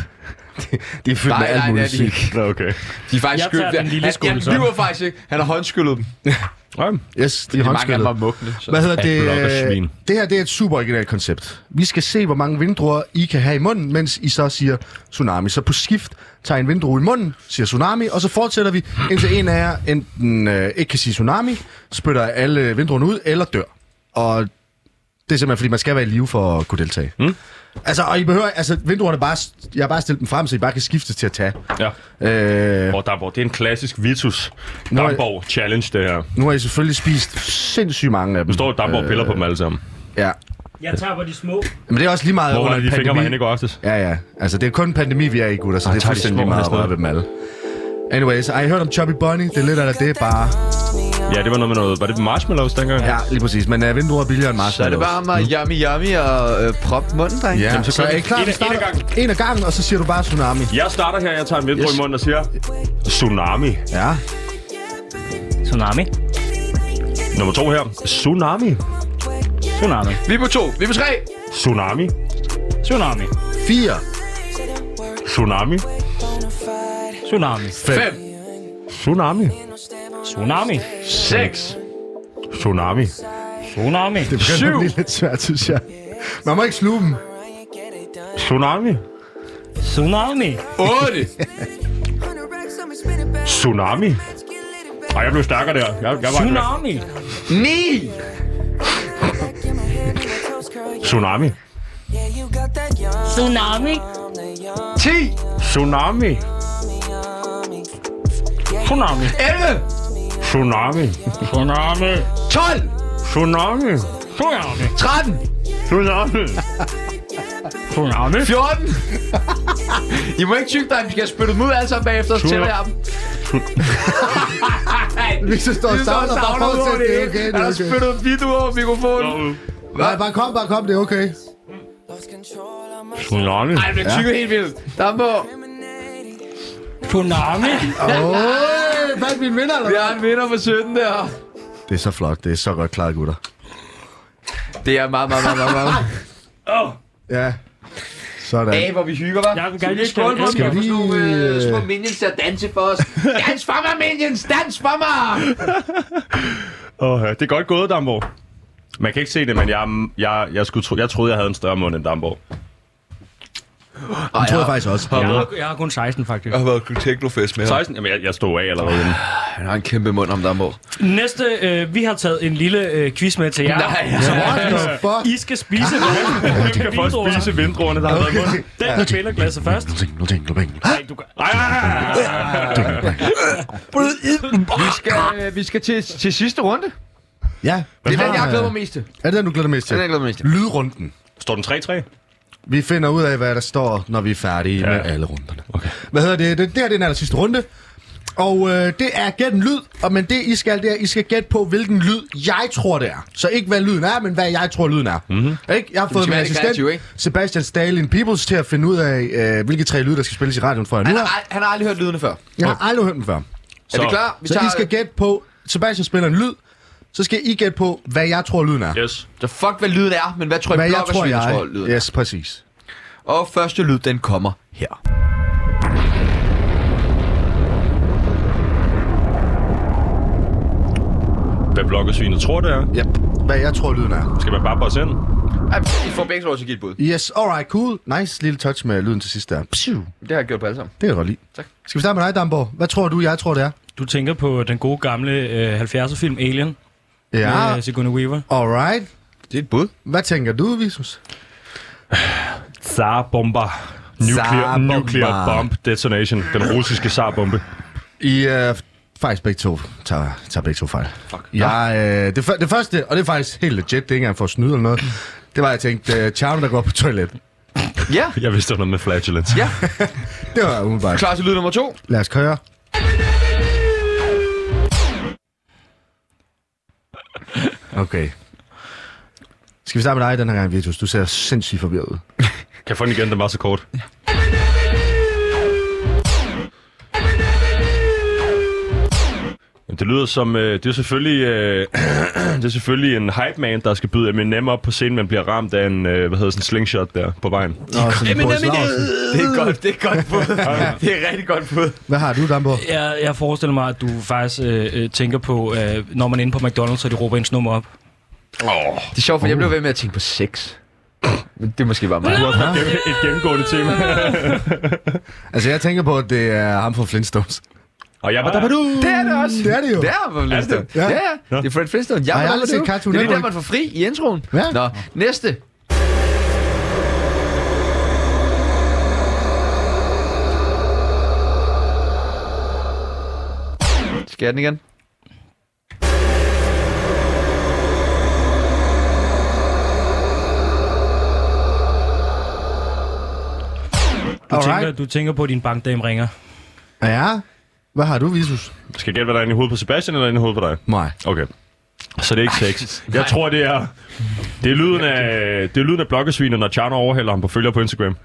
[SPEAKER 2] de er fyldt
[SPEAKER 12] Nej,
[SPEAKER 2] med alt
[SPEAKER 12] nej, det
[SPEAKER 2] muligt
[SPEAKER 12] er de
[SPEAKER 2] sygt.
[SPEAKER 6] Nå, okay.
[SPEAKER 1] De er faktisk
[SPEAKER 7] Jeg tager
[SPEAKER 1] skyldige.
[SPEAKER 7] den lille skål,
[SPEAKER 1] Han,
[SPEAKER 7] så.
[SPEAKER 1] han lyver faktisk ikke. Han har håndskyllet dem.
[SPEAKER 6] Okay.
[SPEAKER 2] Yes, de
[SPEAKER 1] Det
[SPEAKER 2] er
[SPEAKER 1] er mange af dem var
[SPEAKER 2] håndskyllet.
[SPEAKER 1] mugne. Så.
[SPEAKER 2] Hvad hedder det?
[SPEAKER 6] Adblock og svin.
[SPEAKER 2] øh, Det her det er et super originalt koncept. Vi skal se, hvor mange vindruer I kan have i munden, mens I så siger tsunami. Så på skift tager I en vindrue i munden, siger tsunami, og så fortsætter vi, indtil en af jer enten øh, ikke kan sige tsunami, spytter alle vindruerne ud eller dør. Og Det er simpelthen, fordi man skal være i live for at kunne deltage. Mm. Altså, og I behøver, altså, vinduerne bare, jeg har bare stillet dem frem, så I bare kan skifte til at tage.
[SPEAKER 6] Ja.
[SPEAKER 2] Øh...
[SPEAKER 6] Og Damborg, det er en klassisk Vitus Damborg challenge, det her.
[SPEAKER 2] Nu har I selvfølgelig spist sindssygt mange af dem. Øh,
[SPEAKER 6] Nu står Damborg og piller på dem alle sammen.
[SPEAKER 2] Ja.
[SPEAKER 7] Jeg tager på de små.
[SPEAKER 2] Men det er også lige meget
[SPEAKER 6] Hvor var
[SPEAKER 2] under
[SPEAKER 6] det,
[SPEAKER 2] en
[SPEAKER 6] de fingre var
[SPEAKER 2] pandemi.
[SPEAKER 6] henne i går aftes?
[SPEAKER 2] Ja, ja. Altså, det er kun en pandemi, vi er i, gutter, så
[SPEAKER 6] Ej,
[SPEAKER 2] det er
[SPEAKER 6] tager de
[SPEAKER 2] fuldstændig
[SPEAKER 6] små
[SPEAKER 2] lige meget at
[SPEAKER 6] hernede.
[SPEAKER 2] røre ved dem alle. Anyways, har I hørt om Chubby Bunny? Det er lidt af det, bare...
[SPEAKER 6] Ja, det var noget med noget. Var det marshmallows dengang?
[SPEAKER 2] Ja, lige præcis. Men uh, vinduer er billigere end marshmallows.
[SPEAKER 1] Så er det bare mig, yummy, yummy og øh, prop munden, dreng.
[SPEAKER 2] Ja, Jamen, så, så er I klar?
[SPEAKER 6] En
[SPEAKER 2] Vi
[SPEAKER 6] af- en af
[SPEAKER 2] starter en af gangen, og så siger du bare tsunami.
[SPEAKER 6] Jeg starter her, jeg tager en vindbrød yes. i munden og siger... Tsunami.
[SPEAKER 2] Ja.
[SPEAKER 7] Tsunami.
[SPEAKER 6] Nummer to her. Tsunami.
[SPEAKER 7] Tsunami.
[SPEAKER 1] Vi er på to. Vi er på tre.
[SPEAKER 6] Tsunami.
[SPEAKER 7] Tsunami.
[SPEAKER 2] 4.
[SPEAKER 6] Tsunami.
[SPEAKER 7] Tsunami.
[SPEAKER 2] 5.
[SPEAKER 6] Tsunami.
[SPEAKER 7] Tsunami.
[SPEAKER 1] 6.
[SPEAKER 6] Tsunami.
[SPEAKER 7] Tsunami.
[SPEAKER 2] Det begynder at blive lidt svært, synes jeg. Man må ikke sluge dem.
[SPEAKER 6] Tsunami.
[SPEAKER 7] Tsunami.
[SPEAKER 1] 8.
[SPEAKER 6] Tsunami. Ej, jeg blev stærkere der. Jeg, jeg var
[SPEAKER 7] Tsunami.
[SPEAKER 1] 9.
[SPEAKER 6] Tsunami.
[SPEAKER 9] Tsunami.
[SPEAKER 1] 10.
[SPEAKER 6] Tsunami.
[SPEAKER 7] Tsunami.
[SPEAKER 1] 11.
[SPEAKER 6] Tsunami.
[SPEAKER 7] Tsunami.
[SPEAKER 1] 12.
[SPEAKER 6] Tsunami.
[SPEAKER 7] Tsunami.
[SPEAKER 1] 13.
[SPEAKER 6] Tsunami.
[SPEAKER 7] Tsunami.
[SPEAKER 1] 14. I må ikke tygge dig, vi skal spytte dem ud alle sammen bagefter, og så tæller jeg dem.
[SPEAKER 2] Vi så står og savner, bare fortsæt. Det er okay,
[SPEAKER 1] Han
[SPEAKER 2] det er
[SPEAKER 1] har
[SPEAKER 2] okay.
[SPEAKER 1] spyttet video over mikrofonen.
[SPEAKER 2] Nej, bare kom, bare kom, det er okay.
[SPEAKER 6] Tsunami.
[SPEAKER 1] Ej, det tykker helt vildt. Der må...
[SPEAKER 7] Tsunami.
[SPEAKER 2] Åh, fandt Øh, min vinder, eller
[SPEAKER 1] Vi
[SPEAKER 2] hvad?
[SPEAKER 1] har en vinder på 17 der.
[SPEAKER 2] Det er så flot, det er så godt klaret, gutter.
[SPEAKER 1] Det er meget, meget, meget, meget,
[SPEAKER 2] (laughs)
[SPEAKER 1] meget.
[SPEAKER 2] Ja. Sådan.
[SPEAKER 1] Af, hvor vi hygger, hva'?
[SPEAKER 7] Jeg vil
[SPEAKER 1] Skal
[SPEAKER 7] gerne
[SPEAKER 1] vi lige skåle
[SPEAKER 7] lige skåle
[SPEAKER 1] for dem? Skal
[SPEAKER 7] for
[SPEAKER 2] dem?
[SPEAKER 1] vi
[SPEAKER 2] Skal vi
[SPEAKER 1] nogle øh,
[SPEAKER 2] lige-
[SPEAKER 1] små minions der danse for
[SPEAKER 2] (laughs)
[SPEAKER 1] os? Dans for mig, minions! Dans for mig!
[SPEAKER 6] Åh, ja, det er godt gået, Damborg. Man kan ikke se det, men jeg, jeg, jeg, skulle tro, jeg troede, jeg havde en større mund end Damborg.
[SPEAKER 2] Det tror jeg faktisk også.
[SPEAKER 7] Jeg har, jeg har kun 16, faktisk.
[SPEAKER 1] har været til Teknofest med
[SPEAKER 6] 16? Jamen, jeg, jeg stod af allerede inden.
[SPEAKER 1] Han har en kæmpe mund om Dambo.
[SPEAKER 7] Næste, øh, vi har taget en lille øh, quiz med til jer.
[SPEAKER 1] Nej, ja.
[SPEAKER 7] Som
[SPEAKER 2] What
[SPEAKER 7] er,
[SPEAKER 2] the fuck?
[SPEAKER 7] I skal spise vindruer.
[SPEAKER 6] Hvem kan først spise vindruerne, der har været i munden?
[SPEAKER 7] Den der spiller glasset først.
[SPEAKER 3] Jingle, jingle, jingle.
[SPEAKER 7] Nej, du gør...
[SPEAKER 6] Ej, ej, ej, ej, ej.
[SPEAKER 1] Vi skal, øh, vi skal til, til sidste runde. Det
[SPEAKER 2] Ja. Det
[SPEAKER 1] er den, jeg glæder mig mest til.
[SPEAKER 2] Er det den, du glæder dig mest til?
[SPEAKER 1] Den, jeg glæder mig mest til.
[SPEAKER 2] Lydrunden.
[SPEAKER 6] Står den 3-3?
[SPEAKER 2] Vi finder ud af, hvad der står, når vi er færdige ja. med alle runderne. Okay. Hvad hedder det? Det, det her det er den aller sidste runde. Og øh, det er gæt en lyd, og men det I skal, det er, I skal gætte på, hvilken lyd jeg tror, det er. Så ikke hvad lyden er, men hvad jeg tror, lyden er.
[SPEAKER 1] Mhm.
[SPEAKER 2] Mm-hmm. Ikke? Jeg har fået
[SPEAKER 1] skal
[SPEAKER 2] min
[SPEAKER 1] være lidt
[SPEAKER 2] assistent,
[SPEAKER 1] kreativ, ikke?
[SPEAKER 2] Sebastian Stalin Peoples, til at finde ud af, øh, hvilke tre lyde, der skal spilles i radioen for jer nu.
[SPEAKER 1] Han har, ald- han har aldrig hørt lydene før.
[SPEAKER 2] Jeg har aldrig hørt dem før.
[SPEAKER 1] Er vi klar? Vi
[SPEAKER 2] Så I skal
[SPEAKER 1] tager...
[SPEAKER 2] gætte på, Sebastian spiller en lyd, så skal I gætte på, hvad jeg tror, lyden er.
[SPEAKER 6] Yes.
[SPEAKER 1] Så fuck, hvad lyden er, men hvad tror
[SPEAKER 2] Hvad
[SPEAKER 1] jeg,
[SPEAKER 2] jeg
[SPEAKER 1] blok
[SPEAKER 2] tror,
[SPEAKER 1] og
[SPEAKER 2] jeg.
[SPEAKER 1] tror, lyden er.
[SPEAKER 2] Yes, præcis.
[SPEAKER 1] Og første lyd, den kommer her.
[SPEAKER 6] Hvad blokkesvinet tror, det er?
[SPEAKER 2] Yep. Hvad jeg tror, lyden er.
[SPEAKER 6] Skal man bare bare sende?
[SPEAKER 1] Ej, I får begge lov til at give et bud.
[SPEAKER 2] Yes, alright, cool. Nice lille touch med lyden til sidst der. Psiu.
[SPEAKER 1] Det har jeg gjort på alle sammen.
[SPEAKER 2] Det er godt lige.
[SPEAKER 1] Tak.
[SPEAKER 2] Skal vi starte med dig, Damborg? Hvad tror du, jeg tror, det er?
[SPEAKER 7] Du tænker på den gode gamle øh, 70'er film Alien med øh, Sigourney Weaver.
[SPEAKER 2] Alright.
[SPEAKER 1] Det er et bud.
[SPEAKER 2] Hvad tænker du, Visus?
[SPEAKER 6] Zar-bomber. Nuclear,
[SPEAKER 2] Tsar-bomber.
[SPEAKER 6] nuclear bomb detonation. Den russiske zar-bombe.
[SPEAKER 2] I er øh, faktisk begge to. Tager, tager begge to fejl. Fuck. Jeg, øh, det, fyr- det, første, og det er faktisk helt legit, det er ikke engang for at snyde eller noget, det var, jeg tænkte, øh, Charme, der går på toilet.
[SPEAKER 1] Ja,
[SPEAKER 6] Jeg vidste, det var noget med flatulence.
[SPEAKER 1] ja.
[SPEAKER 2] Det var umiddelbart.
[SPEAKER 1] Klar til lyd nummer to.
[SPEAKER 2] Lad os køre. Okay. Skal vi starte med dig den her gang, Vitus? Du ser sindssygt forvirret ud.
[SPEAKER 6] Kan jeg få den igen? Den var så kort. Jamen, Det lyder som, øh, det er selvfølgelig, øh, (clears throat) det er selvfølgelig en hype man, der skal byde Eminem op på scenen, men bliver ramt af en, øh, hvad hedder sådan en slingshot der på vejen.
[SPEAKER 2] Nå, sådan en Boris Lausen.
[SPEAKER 1] Det er godt, det er godt (laughs) bud. det er rigtig godt bud.
[SPEAKER 2] Hvad har du, Dambo?
[SPEAKER 7] Jeg, jeg forestiller mig, at du faktisk øh, øh, tænker på, øh, når man er inde på McDonald's, og de råber ens nummer op.
[SPEAKER 1] Det er sjovt, for jeg blev ved med at tænke på sex. Men det er måske bare mig.
[SPEAKER 6] Det var et, gennem- et gennemgående tema.
[SPEAKER 2] Altså, jeg tænker på, at det er ham fra Flintstones.
[SPEAKER 6] Og jeg var der
[SPEAKER 1] Det er det også.
[SPEAKER 2] Det er det jo.
[SPEAKER 1] Det er Fred Flintstone. Ja, ja. Det er Fred Flintstone. Jeg,
[SPEAKER 2] Har jeg
[SPEAKER 1] jeg
[SPEAKER 2] aldrig set Cartoon
[SPEAKER 1] Det er lige der,
[SPEAKER 2] Network?
[SPEAKER 1] man får fri i introen.
[SPEAKER 2] Ja.
[SPEAKER 1] Nå, næste. Skal jeg den igen?
[SPEAKER 7] Du, tænker,
[SPEAKER 2] Alright.
[SPEAKER 7] du tænker på, at din bankdame ringer.
[SPEAKER 2] Ja. Hvad har du, Visus?
[SPEAKER 6] Skal jeg gætte, hvad der er inde i hovedet på Sebastian, eller inde i hovedet på dig?
[SPEAKER 2] Nej.
[SPEAKER 6] Okay. Så det er ikke sex. Jeg tror, det er... Det er lyden af, det er lyden af blokkesvinet, når Tjerno overhælder ham på følger på Instagram.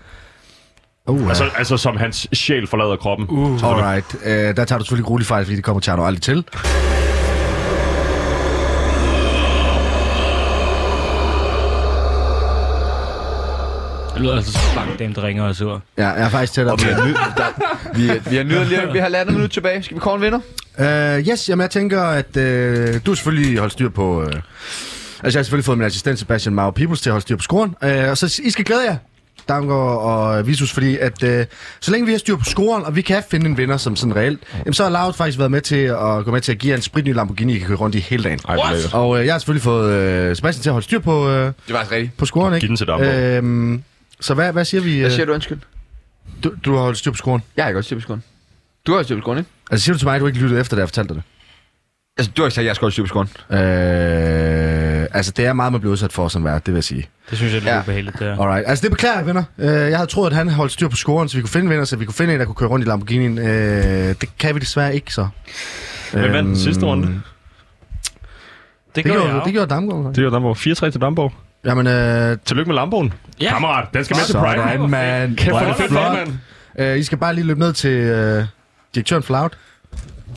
[SPEAKER 2] Uh,
[SPEAKER 6] Altså, altså som hans sjæl forlader kroppen. Uh.
[SPEAKER 2] Alright. Uh, der tager du selvfølgelig grueligt fejl, fordi det kommer Tjerno aldrig til.
[SPEAKER 7] Det lyder altså som en bankdame, der ringer og sur.
[SPEAKER 2] Ja, jeg er faktisk tættere på.
[SPEAKER 1] Vi har, ny- der, vi, er- vi har nyder lige, vi har landet minut tilbage. Skal vi kåre en vinder?
[SPEAKER 2] Uh, yes, jamen jeg tænker, at uh, du har selvfølgelig holdt styr på... Uh, altså, jeg har selvfølgelig fået min assistent Sebastian Mau Peoples til at holde styr på scoren. Uh, og så I skal glæde jer, Damgaard og Visus, fordi at uh, så længe vi har styr på scoren, og vi kan finde en vinder som sådan reelt, jamen, så har Laud faktisk været med til at gå med til at give jer en spritny Lamborghini, I kan køre rundt i hele dagen.
[SPEAKER 6] Ej, hvor What? lækkert.
[SPEAKER 2] og uh, jeg har selvfølgelig fået uh, Sebastian til at holde styr på, uh,
[SPEAKER 1] Det var altså rigtigt.
[SPEAKER 2] på scoren, ikke?
[SPEAKER 6] Giv den til Damgaard.
[SPEAKER 2] Øhm, så hvad, hvad siger vi?
[SPEAKER 1] Hvad
[SPEAKER 2] øh,
[SPEAKER 1] siger du, undskyld?
[SPEAKER 2] Du, du har holdt styr på scoren.
[SPEAKER 1] Jeg har godt styr på skolen. Du har også styr på skolen, ikke?
[SPEAKER 2] Altså siger du til mig, at du ikke lyttede efter, da jeg fortalte dig det?
[SPEAKER 1] Altså, du har ikke sagt, at jeg skal holde styr på skolen.
[SPEAKER 2] Øh, altså, det er meget, man bliver udsat for som vært, det vil jeg sige.
[SPEAKER 7] Det synes jeg, det er
[SPEAKER 1] Ja.
[SPEAKER 7] ja. ubehageligt, det her.
[SPEAKER 2] Alright. Altså, det beklager jeg, venner. Øh, jeg havde troet, at han holdt styr på scoren, så vi kunne finde venner, så vi kunne finde en, der kunne køre rundt i Lamborghini'en. Øh, det kan vi desværre ikke, så.
[SPEAKER 6] Hvem
[SPEAKER 2] Øhm.
[SPEAKER 6] vandt den sidste runde?
[SPEAKER 7] Det,
[SPEAKER 2] Det
[SPEAKER 7] gør
[SPEAKER 2] gjorde,
[SPEAKER 7] jeg
[SPEAKER 2] det
[SPEAKER 7] det
[SPEAKER 2] gjorde Damgaard. faktisk.
[SPEAKER 6] Det er Damborg. 4-3 til Damborg.
[SPEAKER 2] Jamen, øh,
[SPEAKER 6] Tillykke med Lamboen.
[SPEAKER 7] Ja.
[SPEAKER 6] Kammerat, den skal med til Pride.
[SPEAKER 2] sådan, mand.
[SPEAKER 6] Kæft, hvor er
[SPEAKER 2] Hvor
[SPEAKER 6] det fedt,
[SPEAKER 2] flot.
[SPEAKER 6] mand.
[SPEAKER 2] Øh, I skal bare lige løbe ned til øh, direktøren for Loud.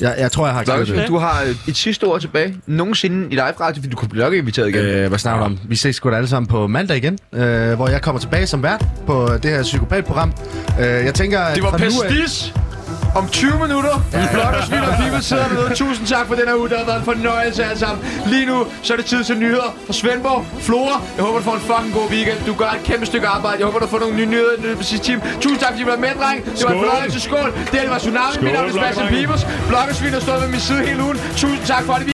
[SPEAKER 2] Jeg, jeg tror, jeg har
[SPEAKER 1] Lars,
[SPEAKER 2] glemt det.
[SPEAKER 1] du har øh, et sidste ord tilbage. Nogensinde i live radio, fordi du kunne blive nok inviteret igen.
[SPEAKER 2] Øh, hvad snakker du om? Vi ses sgu da alle sammen på mandag igen, øh, hvor jeg kommer tilbage som vært på det her psykopatprogram. Øh, jeg tænker, at
[SPEAKER 1] Det var
[SPEAKER 2] fra nu af-
[SPEAKER 1] Pestis om 20 minutter. I Blokkesvin og People sidder dernede. Tusind tak for den her uge, der har været en fornøjelse alle sammen. Lige nu, så er det tid til nyheder fra Svendborg. Flora, jeg håber, du får en fucking god weekend. Du gør et kæmpe stykke arbejde. Jeg håber, du får nogle nye nyheder i løbet af sidste time. Tusind tak, fordi I var med, dreng. Det var en
[SPEAKER 6] Skål.
[SPEAKER 1] fornøjelse. Skål. Det her, det var Tsunami. Mit navn er
[SPEAKER 6] Skål,
[SPEAKER 1] Sebastian
[SPEAKER 6] Blokkdrenge.
[SPEAKER 1] Pibers. Blokkesvin har stået ved min side hele ugen. Tusind tak for det.